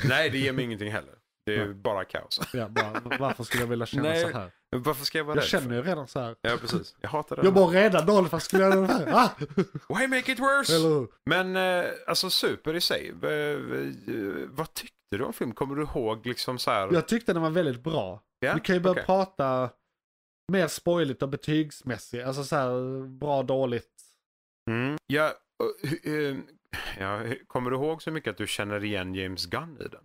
S3: Nej, det ger mig ingenting heller. Det är bara kaos.
S1: ja, bara, Varför skulle jag vilja känna
S3: Nej,
S1: så här?
S3: Varför ska jag vara
S1: Jag
S3: rädd?
S1: känner ju redan så här.
S3: för- Ja, precis. Jag hatar det.
S1: Jag mår redan dåligt, varför skulle jag göra det här? Ah!
S3: Why make it worse?
S1: Eller hur?
S3: Men eh, alltså super i sig. Eh, eh, vad tyckte du om filmen? Kommer du ihåg liksom så här?
S1: Jag tyckte den var väldigt bra.
S3: Ja,
S1: Vi kan ju börja
S3: okej.
S1: prata mer spoiligt och betygsmässigt. Alltså så här bra, dåligt.
S3: Mm. Ja, och, hu- eh, ja, hu- kommer du ihåg så mycket att du känner igen James Gunn i den?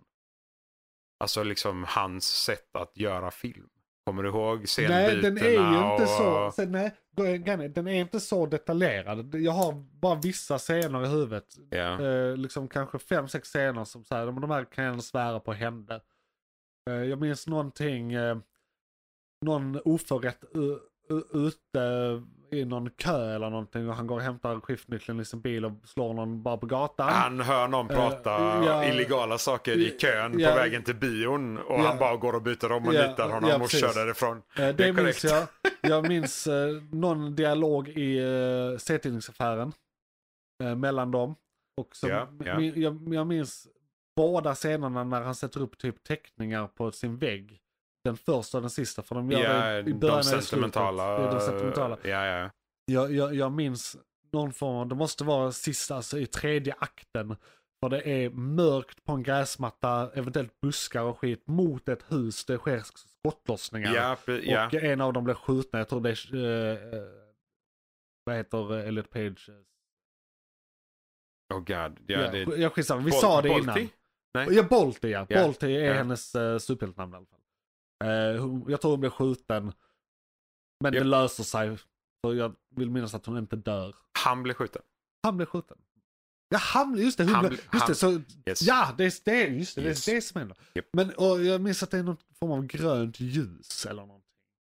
S3: Alltså liksom hans sätt att göra film. Kommer du ihåg scenbytena?
S1: Nej, den är ju inte
S3: och...
S1: så. Sen, nej, den är inte så detaljerad. Jag har bara vissa scener i huvudet.
S3: Ja.
S1: Eh, liksom kanske fem, sex scener som så här, de de här kan jag svära på hände. Eh, jag minns någonting, eh, någon oförrätt u- u- ute i någon kö eller någonting och han går och hämtar skiftnyckeln i sin bil och slår någon bara på gatan.
S3: Han hör någon
S1: Eh,
S3: prata
S1: ja.
S3: illegala saker i kön
S1: Ja.
S3: på vägen till bion och
S1: Ja.
S3: han bara går och byter om och
S1: Ja,
S3: nitar honom
S1: ja,
S3: och
S1: precis.
S3: kör därifrån.
S1: Eh, det
S3: det är
S1: minns
S3: korrekt.
S1: jag.
S3: [LAUGHS]
S1: Jag minns eh, någon dialog i eh, C-tidningsaffären eh, mellan dem. Och så,
S3: Ja, ja.
S1: min- Jag, jag minns båda scenerna när han sätter upp typ teckningar på sin vägg. Den första och den sista, för de gör
S3: Ja,
S1: det i början
S3: de
S1: och i slutet.
S3: sentimentala. eh,
S1: Det är de sentimentala.
S3: Ja, ja.
S1: Jag, jag, jag minns någon form av, det måste vara sista, alltså i tredje akten. För det är mörkt på en gräsmatta, eventuellt buskar och skit, mot ett hus. Det sker skottlossningar.
S3: Ja, pre- ja.
S1: Och en av dem blev skjuten, jag tror det är... eh, eh, vad heter eh, Elliot Page?
S3: Oh god. Ja, det...
S1: sk- jag skissar, vi
S3: Bol-
S1: sa det
S3: Bolti?
S1: innan.
S3: Nej.
S1: Ja, Bolti ja.
S3: Ja,
S1: Bolti är
S3: ja.
S1: hennes uh, superhjältenamn i alla fall. Eh, hon, jag tror hon blev skjuten. Men
S3: Ja.
S1: det löser sig. För jag vill minnas att hon inte dör.
S3: Han blev skjuten.
S1: Han blev skjuten. Ja, han, just det. Hon
S3: Han
S1: blev,
S3: bl-
S1: just det så,
S3: Yes.
S1: Ja, det är det, är- just det,
S3: Yes.
S1: det, är det som händer.
S3: Japp.
S1: Men och jag minns att det är någon form av grönt ljus eller någonting.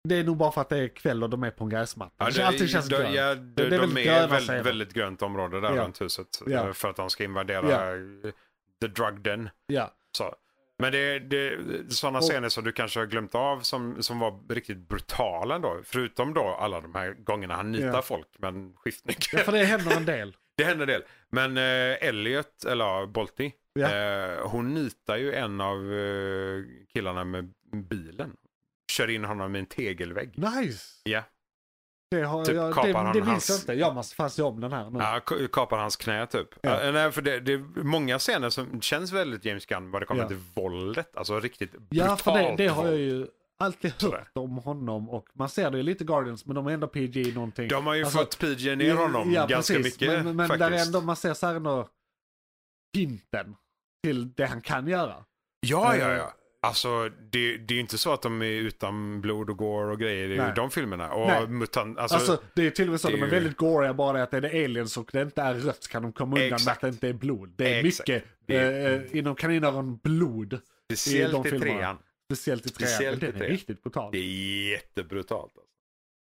S1: Det är nog bara för att det är kväll och de är på en gräsmatta.
S3: Ja,
S1: det,
S3: det,
S1: allting känns
S3: de,
S1: grönt.
S3: Ja,
S1: det
S3: de,
S1: är
S3: de
S1: väldigt
S3: är
S1: gröna
S3: väldigt,
S1: scener.
S3: väldigt grönt område där
S1: Ja.
S3: runt huset.
S1: Ja.
S3: eh, För att de ska invadera
S1: Ja.
S3: eh, the drug den.
S1: Ja.
S3: Så. Men det, det, sådana
S1: Och-
S3: scener som du kanske har glömt av som, som var riktigt brutala då. Förutom då alla de här gångerna han nitar
S1: Ja.
S3: folk med en skiftnyckel.
S1: ja, för det händer en del.
S3: [LAUGHS] Det händer en del. Men eh, Elliot, eller ja, Bolti,
S1: Ja.
S3: eh, hon nitar ju en av eh, killarna med bilen. Kör in honom i en tegelvägg.
S1: Nice!
S3: Ja.
S1: Det, har,
S3: Typ
S1: jag,
S3: kapar
S1: det, det
S3: han
S1: minns
S3: hans-
S1: jag inte. Jag måste fan se om den här nu.
S3: Ja, k- kapar hans knä typ.
S1: Ja.
S3: Ja. nej, för det, det är många scener som känns väldigt James Gunn vad det kommer
S1: Ja.
S3: till våldet. Alltså riktigt brutalt
S1: ja, för det, det har jag
S3: våld.
S1: ju alltid
S3: Sådär.
S1: hört om honom och man ser det ju lite Guardians men de är ändå PG någonting.
S3: De har ju
S1: Alltså,
S3: fått PG ner honom
S1: Ja,
S3: ganska
S1: precis.
S3: mycket
S1: Men, men där
S3: faktiskt.
S1: är ändå, man ser så här ändå hinten till det han kan göra.
S3: Ja, ja,
S1: Eh.
S3: ja. Alltså det, det är ju inte så att de är utan blod och gore och grejer
S1: Nej.
S3: i de filmerna. Och
S1: Nej.
S3: mutant, alltså,
S1: Alltså, det är till och med så att
S3: det är
S1: de är
S3: ju-
S1: väldigt goriga bara det att är det aliens och det inte är rött så kan de komma undan med att
S3: Exakt.
S1: det inte är blod. Det är
S3: Exakt.
S1: mycket,
S3: Det är-
S1: eh, inom kaninöron, blod. i
S3: speciellt
S1: de
S3: i
S1: filmerna.
S3: trean.
S1: Speciellt i trean.
S3: Speciellt i
S1: den är
S3: trean.
S1: riktigt brutal.
S3: Det
S1: Det,
S3: är jättebrutalt. Alltså.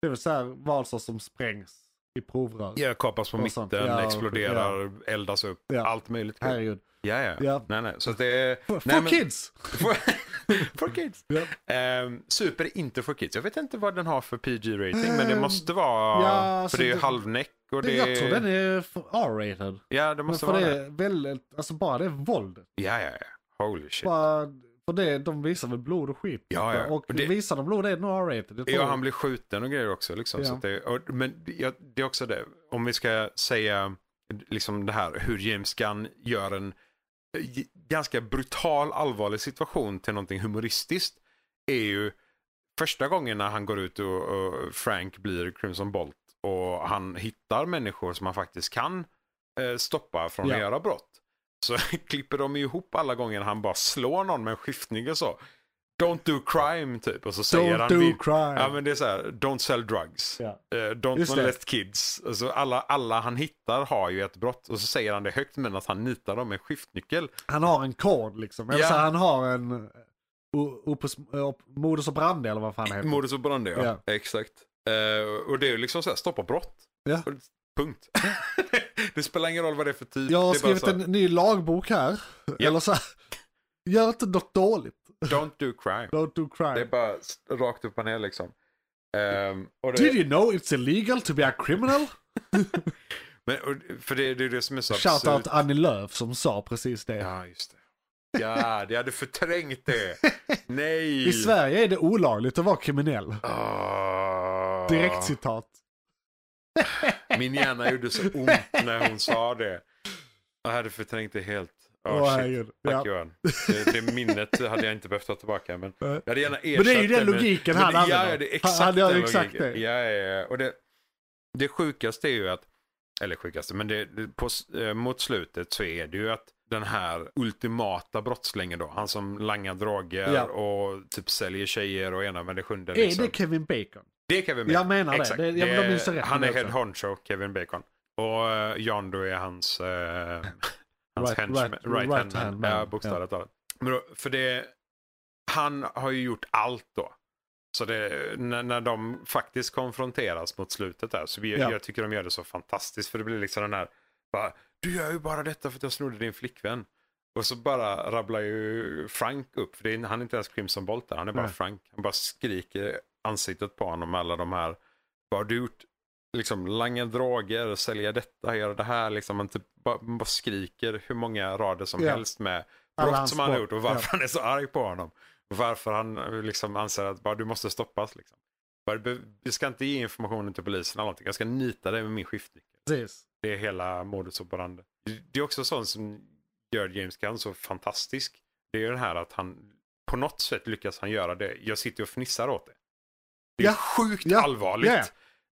S1: är väl så här valser som sprängs i provrör.
S3: Ja, kapas på
S1: Och
S3: mitten,
S1: sånt. Ja, och-
S3: exploderar, eldas upp,
S1: Ja.
S3: allt möjligt. Ja,
S1: Herregud.
S3: ja.
S1: Ja.
S3: Nej, nej. Så att det är...
S1: For,
S3: nej,
S1: for
S3: men-
S1: kids!
S3: For, [LAUGHS] for kids.
S1: Ja.
S3: Ehm, super är inte for kids. Jag vet inte vad den har för PG-rating, men det måste vara...
S1: Ehm, ja, alltså
S3: för det är ju
S1: det-
S3: halvnäck Och
S1: Det,
S3: det,
S1: Jag tror den är för- R-rated.
S3: Ja, det
S1: Men
S3: måste
S1: för
S3: vara
S1: det
S3: det.
S1: är väldigt, alltså bara det våldet.
S3: Ja, ja, ja. Holy shit.
S1: Bara, för det, de visar väl blod och skit.
S3: Ja, ja.
S1: Och
S3: Och det-
S1: visar de blod det är nog R-rated. det tror
S3: Ja,
S1: jag.
S3: han blir skjuten och grejer också. Liksom,
S1: Ja.
S3: så att det, och, men det- ja, det är också det, om vi ska säga liksom det här hur James Gunn gör en eh, g- ganska brutal allvarlig situation till någonting humoristiskt är ju första gången när han går ut och, och Frank blir Crimson Bolt och han hittar människor som han faktiskt kan eh, stoppa från
S1: Ja.
S3: att göra brott. Så [LAUGHS] klipper de ju ihop alla gånger han bara slår någon med en skiftning och så. Don't do crime typ. Och så säger
S1: Don't
S3: han
S1: do
S3: vid-
S1: crime.
S3: Ja men det är så här, don't sell drugs.
S1: Ja.
S3: Eh, don't
S1: Just det.
S3: molest kids. Alltså alla, alla han hittar har ju ett brott och så säger han det högt men att han nitar dem med skiftnyckel.
S1: Han har en kod liksom. Eller
S3: Ja.
S1: så han har en... o- Opus, eh, op, modus och brand eller vad fan heter.
S3: Modus operandi ja.
S1: Ja.
S3: Exakt. Eh, och det är ju liksom så här, stoppa brott.
S1: Ja.
S3: Och- Punkt. [LAUGHS] det spelar ingen roll vad det är för typ.
S1: Jag har
S3: det är
S1: skrivit
S3: bara så här,
S1: en ny lagbok här. Eller så här, gör inte något dåligt.
S3: Don't do crime.
S1: Don't do crime.
S3: Det är bara s- rakt upp och ner liksom. Ehm, och det,
S1: Did you know it's illegal to be a criminal?
S3: men, och, för det, det är det som är så
S1: Shout
S3: absurt.
S1: out Annie Lööf som sa precis det.
S3: Ja, just det. Ja, jag hade
S1: [LAUGHS]
S3: förträngt det. Nej.
S1: I Sverige är det olagligt att vara kriminell.
S3: Ah.
S1: Direkt citat.
S3: Min hjärna gjorde så ont när hon sa det. Jag hade förträngt det helt. Ah,
S1: Åh,
S3: shit.
S1: herregud.
S3: Tack
S1: Ja.
S3: Johan. Det, det minnet hade jag inte behövt ta tillbaka. Men
S1: Nej.
S3: jag hade gärna
S1: Men
S3: ersatt
S1: det är ju den
S3: med-
S1: logiken
S3: men
S1: han
S3: det-
S1: använder.
S3: Ja, ja, det är exakt
S1: Han- han gör
S3: den
S1: exakt
S3: logiken.
S1: det.
S3: Ja, ja, ja. Och det, det sjukaste är ju att, eller sjukaste, men det, det- på, s- eh, mot slutet så är det ju att den här ultimata brottslingen då, han som langar droger
S1: Ja.
S3: och typ säljer tjejer och ena med det sjunde.
S1: Är
S3: Liksom.
S1: det Kevin Bacon?
S3: Det kan vi med.
S1: Jag menar det.
S3: Exakt.
S1: det. Ja, men de är ju så rätt
S3: han
S1: med
S3: är
S1: det
S3: head
S1: också.
S3: honcho, Kevin Bacon. Och eh, John då är hans, eh,
S1: [LAUGHS]
S3: hans
S1: Right-
S3: henchman,
S1: right-
S3: right, hand
S1: right hand
S3: man.
S1: man.
S3: Ja, bokstavligt talat. Men då, för det, han har ju gjort allt då. Så det, när, när de faktiskt konfronteras mot slutet där, så vi,
S1: Ja.
S3: jag tycker de gör det så fantastiskt. För det blir liksom den här, bara, du gör ju bara detta för att jag snodde din flickvän. Och så bara rabblar ju Frank upp, för det är, han är inte ens Crimson Bolt där, han är bara
S1: Nej.
S3: Frank. Han bara skriker i ansiktet på honom, alla de här, vad har du gjort? Liksom langa droger, sälja detta, göra det här. Liksom, han typ bara, bara skriker hur många rader som
S1: Ja.
S3: helst med
S1: Alla
S3: brott
S1: hans
S3: som han har
S1: brott,
S3: gjort och varför han är så arg på honom. Och varför han eh, liksom anser att bara, du måste stoppas. Liksom. Bara, du be- du ska inte ge informationen till polisen eller någonting. Jag ska nita dig med min skiftnyckel.
S1: Precis.
S3: Det är hela modus operandi. Det är också sånt som gör James Gunn så fantastisk. Det är ju den här att han på något sätt lyckas han göra det. Jag sitter och fnissar åt det. Det är
S1: Ja.
S3: sjukt
S1: Ja.
S3: allvarligt.
S1: Ja.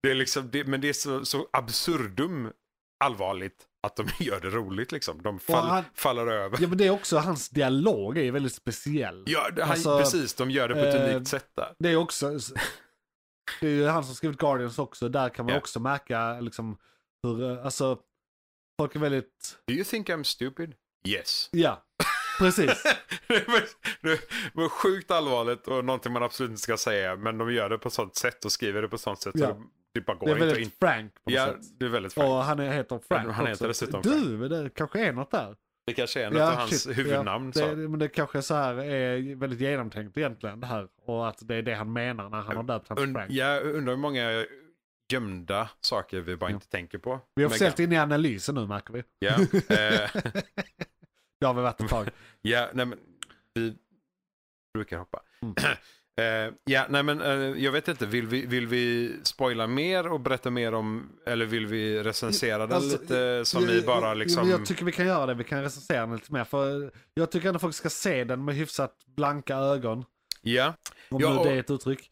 S3: Det är liksom, det, men det är så, så absurdum allvarligt att de [LAUGHS] gör det roligt liksom. De fall,
S1: han-
S3: faller över.
S1: Ja men det är också, hans dialog är ju väldigt speciell.
S3: Ja, det- han,
S1: Alltså,
S3: precis, de gör det på ett
S1: eh,
S3: unikt sätt där.
S1: Det är också,
S3: [LAUGHS]
S1: det är ju han som skrivit Guardians också, där kan man
S3: Ja.
S1: också märka liksom hur, eh, alltså, folk är väldigt,
S3: Do you think I'm stupid? Yes.
S1: ja, precis.
S3: det var- det var sjukt allvarligt och någonting man absolut inte ska säga. Men de gör det på sånt sätt och skriver det på sånt sätt
S1: Ja.
S3: så det, det bara [LAUGHS] går
S1: Det är
S3: inte. In.
S1: väldigt Frank på något
S3: Ja,
S1: sätt.
S3: det är väldigt frankt.
S1: Och han är- heter Frank
S3: Ja, han heter
S1: också.
S3: dessutom
S1: Du, det kanske är något där.
S3: Det kanske är en av hans
S1: shit,
S3: huvudnamn.
S1: Ja,
S3: så.
S1: det, men det kanske är så här är väldigt genomtänkt egentligen det här. Och att det är det han menar när han har döpt honom till
S3: Und,
S1: Frank.
S3: jag undrar hur många gömda saker vi bara
S1: Ja.
S3: inte tänker på.
S1: Vi är
S3: Med
S1: officiellt
S3: Gun.
S1: inne i analysen nu märker vi.
S3: Ja, eh,
S1: Det har vi varit ett
S3: [LAUGHS]
S1: tag.
S3: ja, nej men vi brukar hoppa.
S1: Mm.
S3: [CLEARS THROAT] Eh, ja, nej men eh, jag vet inte, vill vi, vill vi spoila mer och berätta mer om, eller vill vi recensera den
S1: Alltså,
S3: lite som
S1: Ja,
S3: vi
S1: ja,
S3: bara
S1: ja,
S3: liksom...
S1: men Jag tycker vi kan göra det, vi kan recensera den lite mer. För jag tycker ändå folk ska se den med hyfsat blanka ögon.
S3: ja.
S1: Om
S3: Ja,
S1: nu
S3: och-
S1: det är ett uttryck.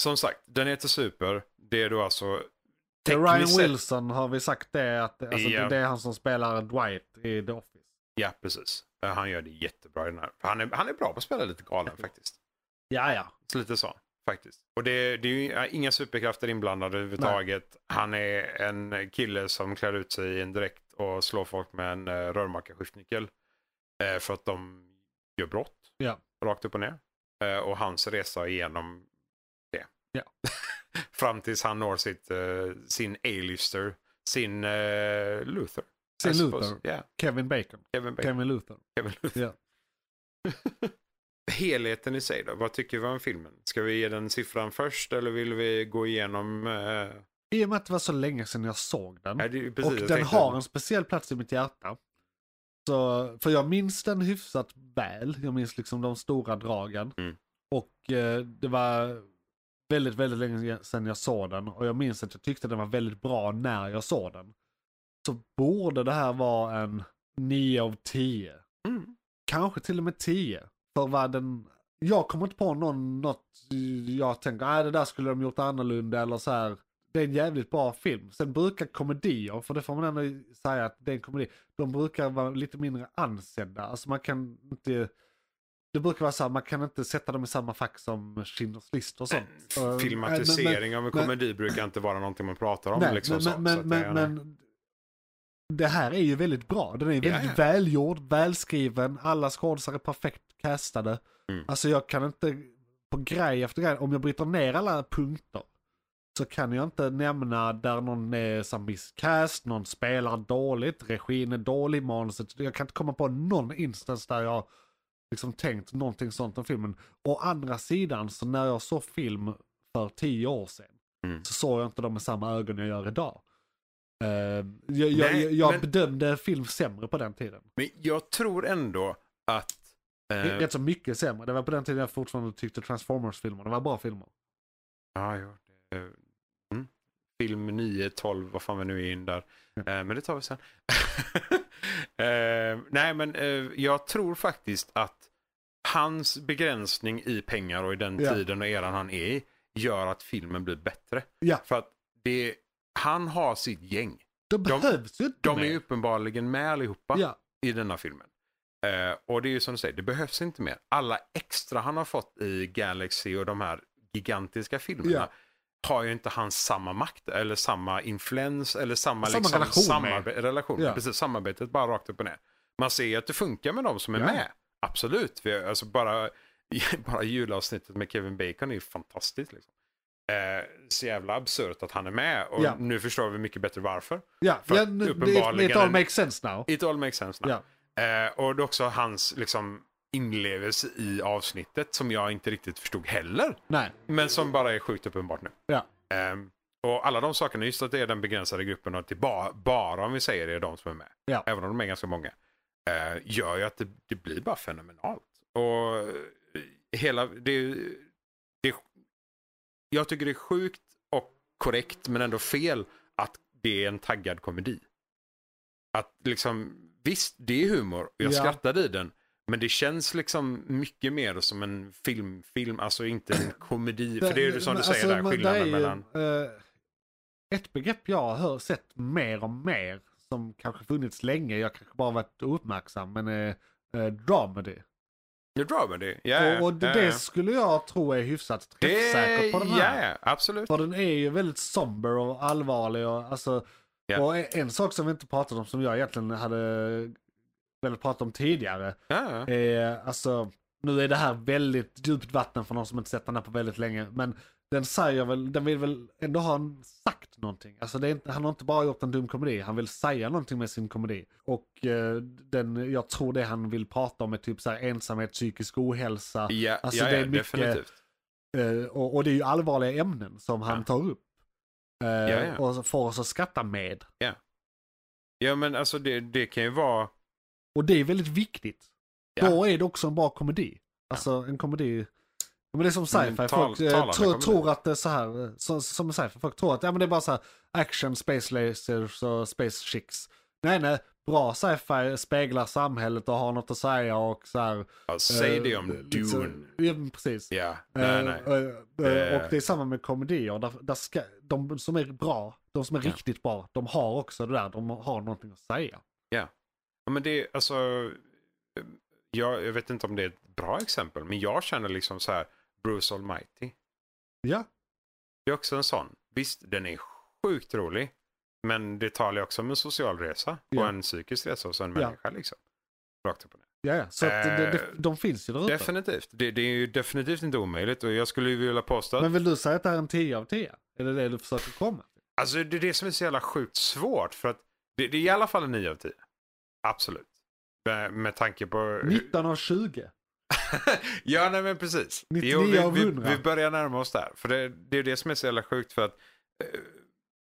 S3: Som sagt, den heter Super. Det är då alltså...
S1: Ryan
S3: tekniskt sett-
S1: Wilson har vi sagt det, att alltså,
S3: Ja.
S1: det är han som spelar Dwight i The Office.
S3: Ja, precis. Eh, Han gör det jättebra i den här. Han är, han är bra på att spela lite galen faktiskt.
S1: Ja, ja.
S3: Så lite så, faktiskt. Och det, det är ju eh, inga superkrafter inblandade överhuvudtaget. Han är en kille som klär ut sig i en dräkt och slår folk med en eh, rörmakarskiftnyckel. Eh, för att de gör brott.
S1: Ja.
S3: Rakt upp och ner. Eh, och hans resa igenom det.
S1: Ja.
S3: [LAUGHS] Fram tills han når sitt, eh, sin A-lister, sin eh, Luther.
S1: Sin
S3: I suppose.
S1: Luther.
S3: Ja,
S1: Kevin Bacon.
S3: Kevin Bacon.
S1: Kevin Luther.
S3: Kevin Luther.
S1: Ja.
S3: [LAUGHS] helheten i sig då? Vad tycker vi om filmen? Ska vi ge den siffran först eller vill vi gå igenom? Eh,
S1: I och med att det var så länge sedan jag såg den.
S3: är det,
S1: Mm. och
S3: precis, jag
S1: den
S3: tänkte-
S1: har en speciell plats i mitt hjärta. Så, för jag minns den hyfsat väl. Jag minns liksom de stora dragen.
S3: Mm.
S1: Och eh, det var väldigt, väldigt länge sedan jag såg den. Och jag minns att jag tyckte den var väldigt bra när jag såg den. Så borde det här vara en 9 av 10.
S3: Mm.
S1: Kanske till och med 10. För vad den... Jag kommer inte på någon, något jag tänker, nej det där skulle de gjort annorlunda eller så här det är en jävligt bra film. Sen brukar komedier, för det får man ändå säga att det är en komedi, de brukar vara lite mindre ansedda. Alltså man kan inte, det brukar vara så här, man kan inte sätta dem i samma fack som Schindler's list och sånt. Eh, men-
S3: Äh, Filmatisering av en
S1: men-
S3: komedi brukar inte vara någonting man pratar om.
S1: men-
S3: liksom,
S1: nej,
S3: så,
S1: men, men,
S3: så att
S1: men,
S3: jag-
S1: men det här är ju väldigt bra. Den är väldigt
S3: ja.
S1: välgjord, välskriven, alla skådisar är perfekt castade.
S3: Mm.
S1: Alltså jag kan inte, på grej efter grej, om jag bryter ner alla punkter så kan jag inte nämna där någon är så här miscast, någon spelar dåligt, regin är dålig, manuset. Jag kan inte komma på någon instans där jag liksom tänkt någonting sånt om filmen. Å andra sidan, så när jag såg film för tio år sedan
S3: Mm.
S1: så såg jag inte dem med samma ögon jag gör idag. Eh, jag jag,
S3: Nej,
S1: jag, jag
S3: men-
S1: bedömde film sämre på den tiden.
S3: Men jag tror ändå att... eh,
S1: Rätt så mycket sämre. Det var på den tiden jag fortfarande tyckte Transformers-filmerna var bra filmer.
S3: Ja, ja. det är- Mm. Film 9, 12, vad fan vi nu är in där. Eh, men det tar vi sen. [LAUGHS] eh, nej, men eh, jag tror faktiskt att hans begränsning i pengar och i den
S1: Ja.
S3: tiden och eran han är i gör att filmen blir bättre.
S1: Ja.
S3: För att det, han har sitt gäng.
S1: De, behövs ju inte
S3: De är
S1: mer.
S3: ju uppenbarligen med allihopa
S1: Ja,
S3: i denna filmen. Eh, och det är ju som du säger, det behövs inte mer. Alla extra han har fått i Galaxy och de här gigantiska filmerna
S1: Ja.
S3: har ju inte han samma makt eller samma influens eller samma,
S1: Samma
S3: liksom,
S1: relation
S3: samarbe- relation.
S1: Ja.
S3: Precis, samarbetet bara rakt upp och ner. Man ser ju att det funkar med de som är
S1: Ja.
S3: med. Absolut, vi, alltså bara, [LAUGHS] bara julavsnittet med Kevin Bacon är ju fantastiskt. Liksom. Eh, så jävla absurt att han är med och
S1: Ja.
S3: nu förstår vi mycket bättre varför.
S1: ja.
S3: För
S1: ja
S3: att
S1: nu- det-
S3: uppenbarligen
S1: It all
S3: en-
S1: makes sense now.
S3: It all makes sense now.
S1: Ja.
S3: Eh, och det är också hans liksom, inlevelse i avsnittet som jag inte riktigt förstod heller.
S1: Nej,
S3: Men som bara är sjukt uppenbart nu.
S1: ja.
S3: Ehm, och alla de sakerna, just att det är den begränsade gruppen och att det bara, bara om vi säger det är de som är med.
S1: Ja.
S3: Även om de är ganska många. eh, gör ju att det, det blir bara fenomenalt. Och eh, hela, det, är ju- det, är- jag tycker det är sjukt och korrekt men ändå fel att det är en taggad komedi. Att liksom, visst det är humor och jag
S1: Ja.
S3: skrattade i den. Men det känns liksom mycket mer som en film, film, alltså inte
S1: [CLEARS THROAT]
S3: en komedi. För det är ju som du
S1: Men,
S3: säger
S1: alltså,
S3: där,
S1: men
S3: skillnaden
S1: det är ju,
S3: mellan...
S1: eh, ett begrepp jag har sett mer och mer, som kanske funnits länge, jag kanske bara varit ouppmärksam, men eh, eh, dramedy.
S3: Nu drar vi det. Ja, ja,
S1: och och det,
S3: ja,
S1: det
S3: ja.
S1: skulle jag tro är hyfsat
S3: Det-
S1: träffsäkert på den
S3: ja,
S1: här.
S3: ja, absolut.
S1: För den är ju väldigt somber och allvarlig. Och, alltså,
S3: Ja.
S1: och en, en sak som vi inte pratade om som jag egentligen hade velat prata om tidigare.
S3: Ja, ja.
S1: Eh, alltså, nu är det här väldigt djupt vatten för någon som inte sett den här på väldigt länge. Men den säger väl, den vill väl ändå ha en- sagt någonting. Alltså det är inte, han har inte bara gjort en dum komedi, han vill säga någonting med sin komedi. Och eh, den, jag tror det han vill prata om är typ så här ensamhet, psykisk ohälsa.
S3: Ja,
S1: alltså,
S3: ja,
S1: det är
S3: ja,
S1: mycket-
S3: definitivt.
S1: Eh, och, och det är ju allvarliga ämnen som han
S3: Ja.
S1: tar upp. Eh,
S3: Ja, ja.
S1: Och så får oss att skratta med.
S3: Ja, men alltså det, det kan ju vara...
S1: Och det är väldigt viktigt.
S3: Ja.
S1: Då är det också en bra komedi. Alltså en komedi. Men det är som sci-fi.
S3: Mm, tal-
S1: folk eh,
S3: talande
S1: tror,
S3: komedi.
S1: tror att det är så här. eh, Som, som sci-fi. Folk tror att ja, men det är bara så här action, space lasers och space chicks. Nej, nej. Bra sci-fi speglar samhället och har något att säga och så här.
S3: Ja, säg
S1: eh,
S3: det om
S1: liksom-
S3: Dune.
S1: Ja, men precis.
S3: Ja,
S1: Eh,
S3: nej, nej.
S1: eh, eh,
S3: Eh.
S1: Och det är samma med komedier. Där, där ska, de som är bra, de som är
S3: Ja.
S1: riktigt bra, de har också det där. De har någonting att säga.
S3: Ja, men det är alltså... eh, Jag, jag vet inte om det är ett bra exempel, men jag känner liksom så här Bruce Almighty.
S1: Ja,
S3: Det är också en sån. Visst, den är sjukt rolig. Men det talar ju också om en social resa och
S1: Ja.
S3: en psykisk resa hos en
S1: Ja.
S3: människa liksom. Rakt upp och ner.
S1: ja, ja. Så att,
S3: Eh,
S1: de, de, de finns ju där ute.
S3: Definitivt. Det, det är ju definitivt inte omöjligt och jag skulle ju vilja påstå att
S1: Men vill du säga att det här är en 10 av 10? Är det det du försöker komma till?
S3: Alltså det är det som är så jävla sjukt svårt för att det, det är i alla fall en 9 av 10. Absolut. Med, med tanke på...
S1: 19 av 20?
S3: [LAUGHS] ja, nej men precis.
S1: 99 av
S3: vi,
S1: 100.
S3: vi, vi börjar närma oss där. För det, det är det som är så jävla sjukt för att eh,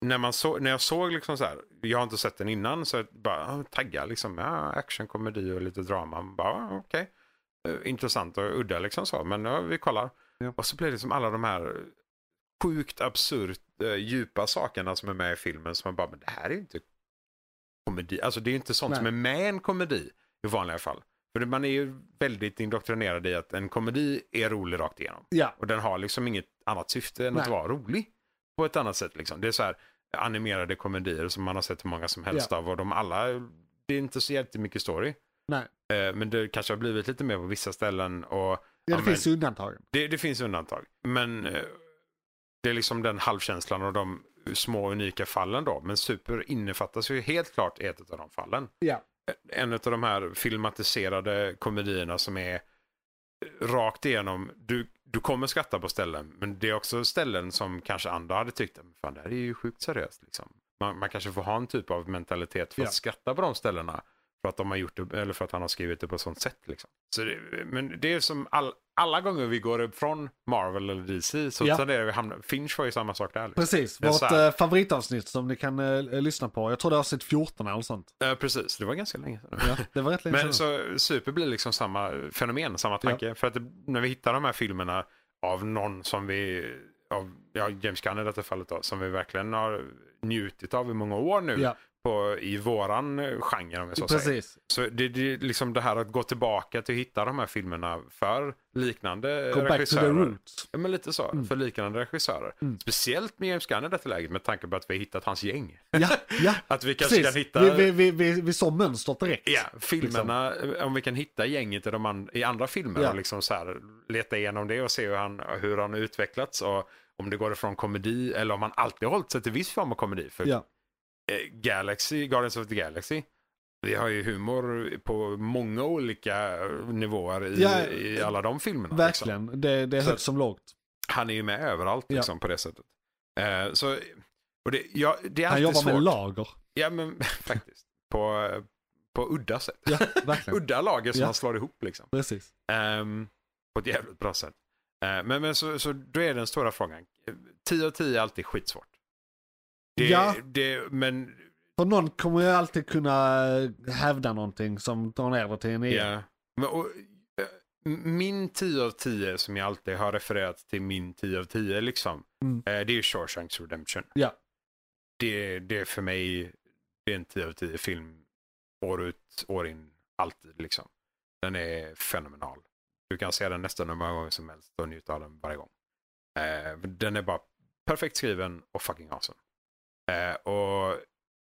S3: när, man så, när jag såg liksom så här, jag har inte sett den innan så jag bara ah, taggar liksom, ja, action, komedi och lite drama. Man Bara ah, okej, Eh, intressant och udda liksom så, men ja, vi kollar.
S1: Ja.
S3: Och så blir det som alla de här sjukt absurt eh, djupa sakerna som är med i filmen som man bara, men det här är ju inte komedi, alltså det är ju inte sånt
S1: Nej.
S3: som är med i en komedi i vanliga fall. För man är ju väldigt indoktrinerad i att en komedi är rolig rakt igenom.
S1: Ja,
S3: Och den har liksom inget annat syfte än att
S1: Nej.
S3: vara rolig. På ett annat sätt liksom. Det är så här animerade komedier som man har sett hur många som helst av och de alla, det är inte så jättemycket story.
S1: nej.
S3: Eh, Men det kanske har blivit lite mer på vissa ställen och
S1: Ja,
S3: Ja,
S1: det
S3: men-
S1: finns ju undantag.
S3: det, det finns undantag. Men eh, det är liksom den halvkänslan och de små unika fallen då. Men super innefattas ju helt klart i ett av de fallen
S1: Ja,
S3: en av de här filmatiserade komedierna som är rakt igenom. Du, du kommer skratta på ställen, men det är också ställen som kanske andra hade tyckt, "Men fan det här är ju sjukt seriöst. Liksom. Man, man kanske får ha en typ av mentalitet för att
S1: Ja.
S3: skratta på de ställena. För att, de har gjort det, eller för att han har skrivit det på ett sånt sätt. Liksom. Så det, men det är som all, alla gånger vi går upp från Marvel eller DC så
S1: Ja.
S3: tenderar vi att hamna... Finch var ju samma sak där. Liksom.
S1: precis.
S3: Det är
S1: Vårt
S3: så här.
S1: eh, favoritavsnitt som ni kan eh, lyssna på. Jag tror det är avsnitt 14 eller något sånt.
S3: Eh, precis, det var ganska länge sedan.
S1: Ja, det var rätt länge
S3: Men
S1: sedan.
S3: så super blir liksom samma fenomen, samma tanke. För att det, när vi hittar de här filmerna av någon som vi, av ja, James Gunn i detta fallet då, som vi verkligen har njutit av i många år nu
S1: Ja,
S3: på, i våran eh, genre om jag så säger.
S1: precis.
S3: Så det, det är liksom det här att gå tillbaka till att hitta de här filmerna för liknande
S1: Go back to the
S3: regissörer.
S1: roots.
S3: Ja, men lite så.
S1: Mm.
S3: För liknande regissörer.
S1: Mm.
S3: Speciellt med James Gunn i detta läget med tanke på att vi har hittat hans gäng.
S1: Ja, ja.
S3: Att vi [LAUGHS] kanske
S1: Precis.
S3: kan hitta...
S1: Vi, vi, vi, vi, vi såg mönstret direkt.
S3: Ja, filmerna, eh, om vi kan hitta gänget i, de an- i andra filmer
S1: Ja.
S3: och liksom så här, leta igenom det och se hur han, hur han har utvecklats och om det går ifrån komedi eller om han alltid har hållit sig till viss form av komedi. För
S1: Ja.
S3: eh, Galaxy, Guardians of the Galaxy, vi har ju humor på många olika eh, nivåer i,
S1: Ja, eh,
S3: i alla de filmerna. Liksom.
S1: Verkligen, det, det är
S3: Så-
S1: högt som lågt.
S3: Han är ju med överallt
S1: Ja.
S3: liksom, på det sättet. Eh, så, och det, ja, det är
S1: Han
S3: alltid
S1: jobbar
S3: svårt.
S1: med lager.
S3: Ja, men [LAUGHS] faktiskt. På, eh, på udda sätt.
S1: Ja,
S3: [LAUGHS]
S1: verkligen.
S3: Udda lager som
S1: Ja.
S3: han slår ihop liksom.
S1: Precis.
S3: Ehm, på ett jävligt bra sätt. Eh, men men så, så då är den stora frågan. 10 av 10 är alltid skitsvårt. Det,
S1: Ja.
S3: det, men
S1: För någon kommer ju alltid kunna eh, hävda någonting som drar ner det till en egen.
S3: ja. Men, och, eh, min 10 av 10 som jag alltid har refererat till min 10 av 10 liksom.
S1: Mm.
S3: eh, det är ju Shawshanks Redemption.
S1: Ja.
S3: Det, det är för mig det är en 10 av 10 film år ut, år in, alltid liksom. Den är fenomenal. Du kan se den nästan hur många gånger som helst och njuta av den varje gång. Eh, den är bara perfekt skriven och fucking awesome. Eh, och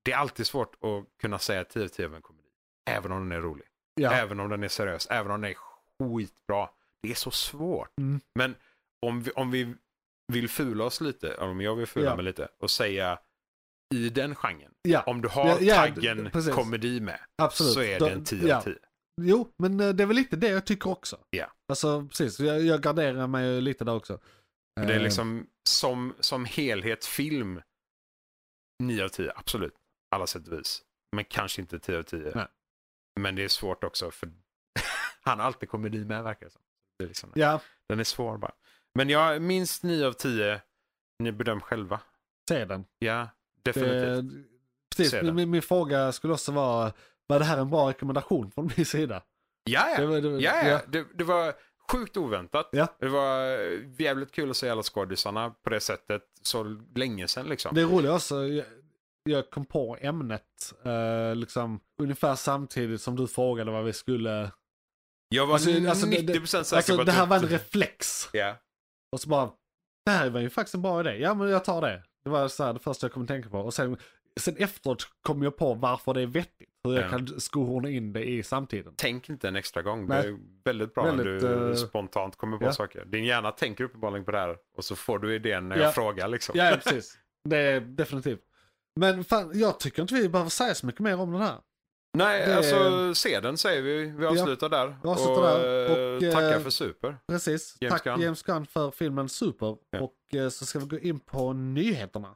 S3: det är alltid svårt att kunna säga 10 av 10 av en komedi. Även om den är rolig.
S1: Ja.
S3: Även om den är seriös. Även om den är skitbra. Det är så svårt.
S1: Mm.
S3: Men om vi, om vi vill fula oss lite, om jag vill fula
S1: Ja.
S3: mig lite och säga i den genren.
S1: ja,
S3: Om du har
S1: Ja, ja,
S3: taggen
S1: d- precis.
S3: komedi med
S1: absolut.
S3: så är
S1: Då-
S3: det en 10
S1: ja.
S3: av 10.
S1: Jo, men eh, det är väl lite det jag tycker också.
S3: Ja.
S1: Alltså precis, jag, jag garderar mig ju lite där också.
S3: För Det är
S1: Eh,
S3: liksom som, som helhet film 9 av 10, absolut. Alla sätt och vis. Men kanske inte 10 av 10.
S1: Nej.
S3: Men det är svårt också för [LAUGHS] han har alltid komedi med verkar det som. Det är liksom,
S1: Eh, Ja,
S3: Den är svår bara. Men jag minst 9 av 10. Ni bedöm själva.
S1: se den.
S3: Ja, definitivt.
S1: Det, precis,
S3: Se den.
S1: min, min fråga skulle också vara, var det här en bra rekommendation från min sida?
S3: Ja, ja.
S1: Det var- det var-
S3: ja,
S1: ja.
S3: ja. Det, det var sjukt oväntat.
S1: Ja.
S3: Det var eh, jävligt kul att se alla skådisarna på det sättet så länge sedan liksom.
S1: Det är roligt också, jag, jag kom på ämnet eh, liksom, ungefär samtidigt som du frågade vad vi skulle...
S3: Jag var
S1: Alltså, alltså, det-
S3: 90%
S1: det-
S3: säker på
S1: Alltså
S3: att
S1: det här
S3: du-
S1: var en reflex.
S3: Ja.
S1: Och så bara, det här var ju faktiskt en bra idé. Ja men jag tar det. Det var så här det första jag kom att tänka på. Och sen, sen efteråt kom jag på varför det är vettigt. Hur jag
S3: Ja.
S1: kan skohorna in det i samtiden.
S3: Tänk inte en extra gång.
S1: Nej.
S3: Det är väldigt bra
S1: Väldigt,
S3: när du
S1: eh,
S3: spontant kommer på
S1: ja.
S3: saker. Din hjärna tänker uppenbarligen på det här och så får du idén när
S1: Ja.
S3: jag frågar liksom.
S1: Ja, ja precis. [LAUGHS] Det är definitivt. Men fan, jag tycker inte vi behöver säga så mycket mer om den här.
S3: Nej,
S1: Det-
S3: alltså se den säger vi. Vi avslutar där.
S1: vi avslutar
S3: och,
S1: där.
S3: eh,
S1: Och, eh,
S3: tackar för super.
S1: Precis.
S3: James
S1: Tack
S3: Gunn.
S1: James Gunn för filmen Super.
S3: Ja.
S1: Och eh, så ska vi gå in på nyheterna.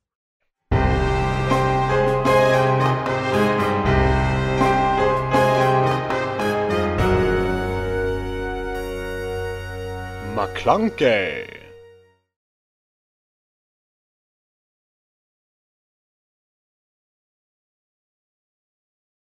S4: McClunkey.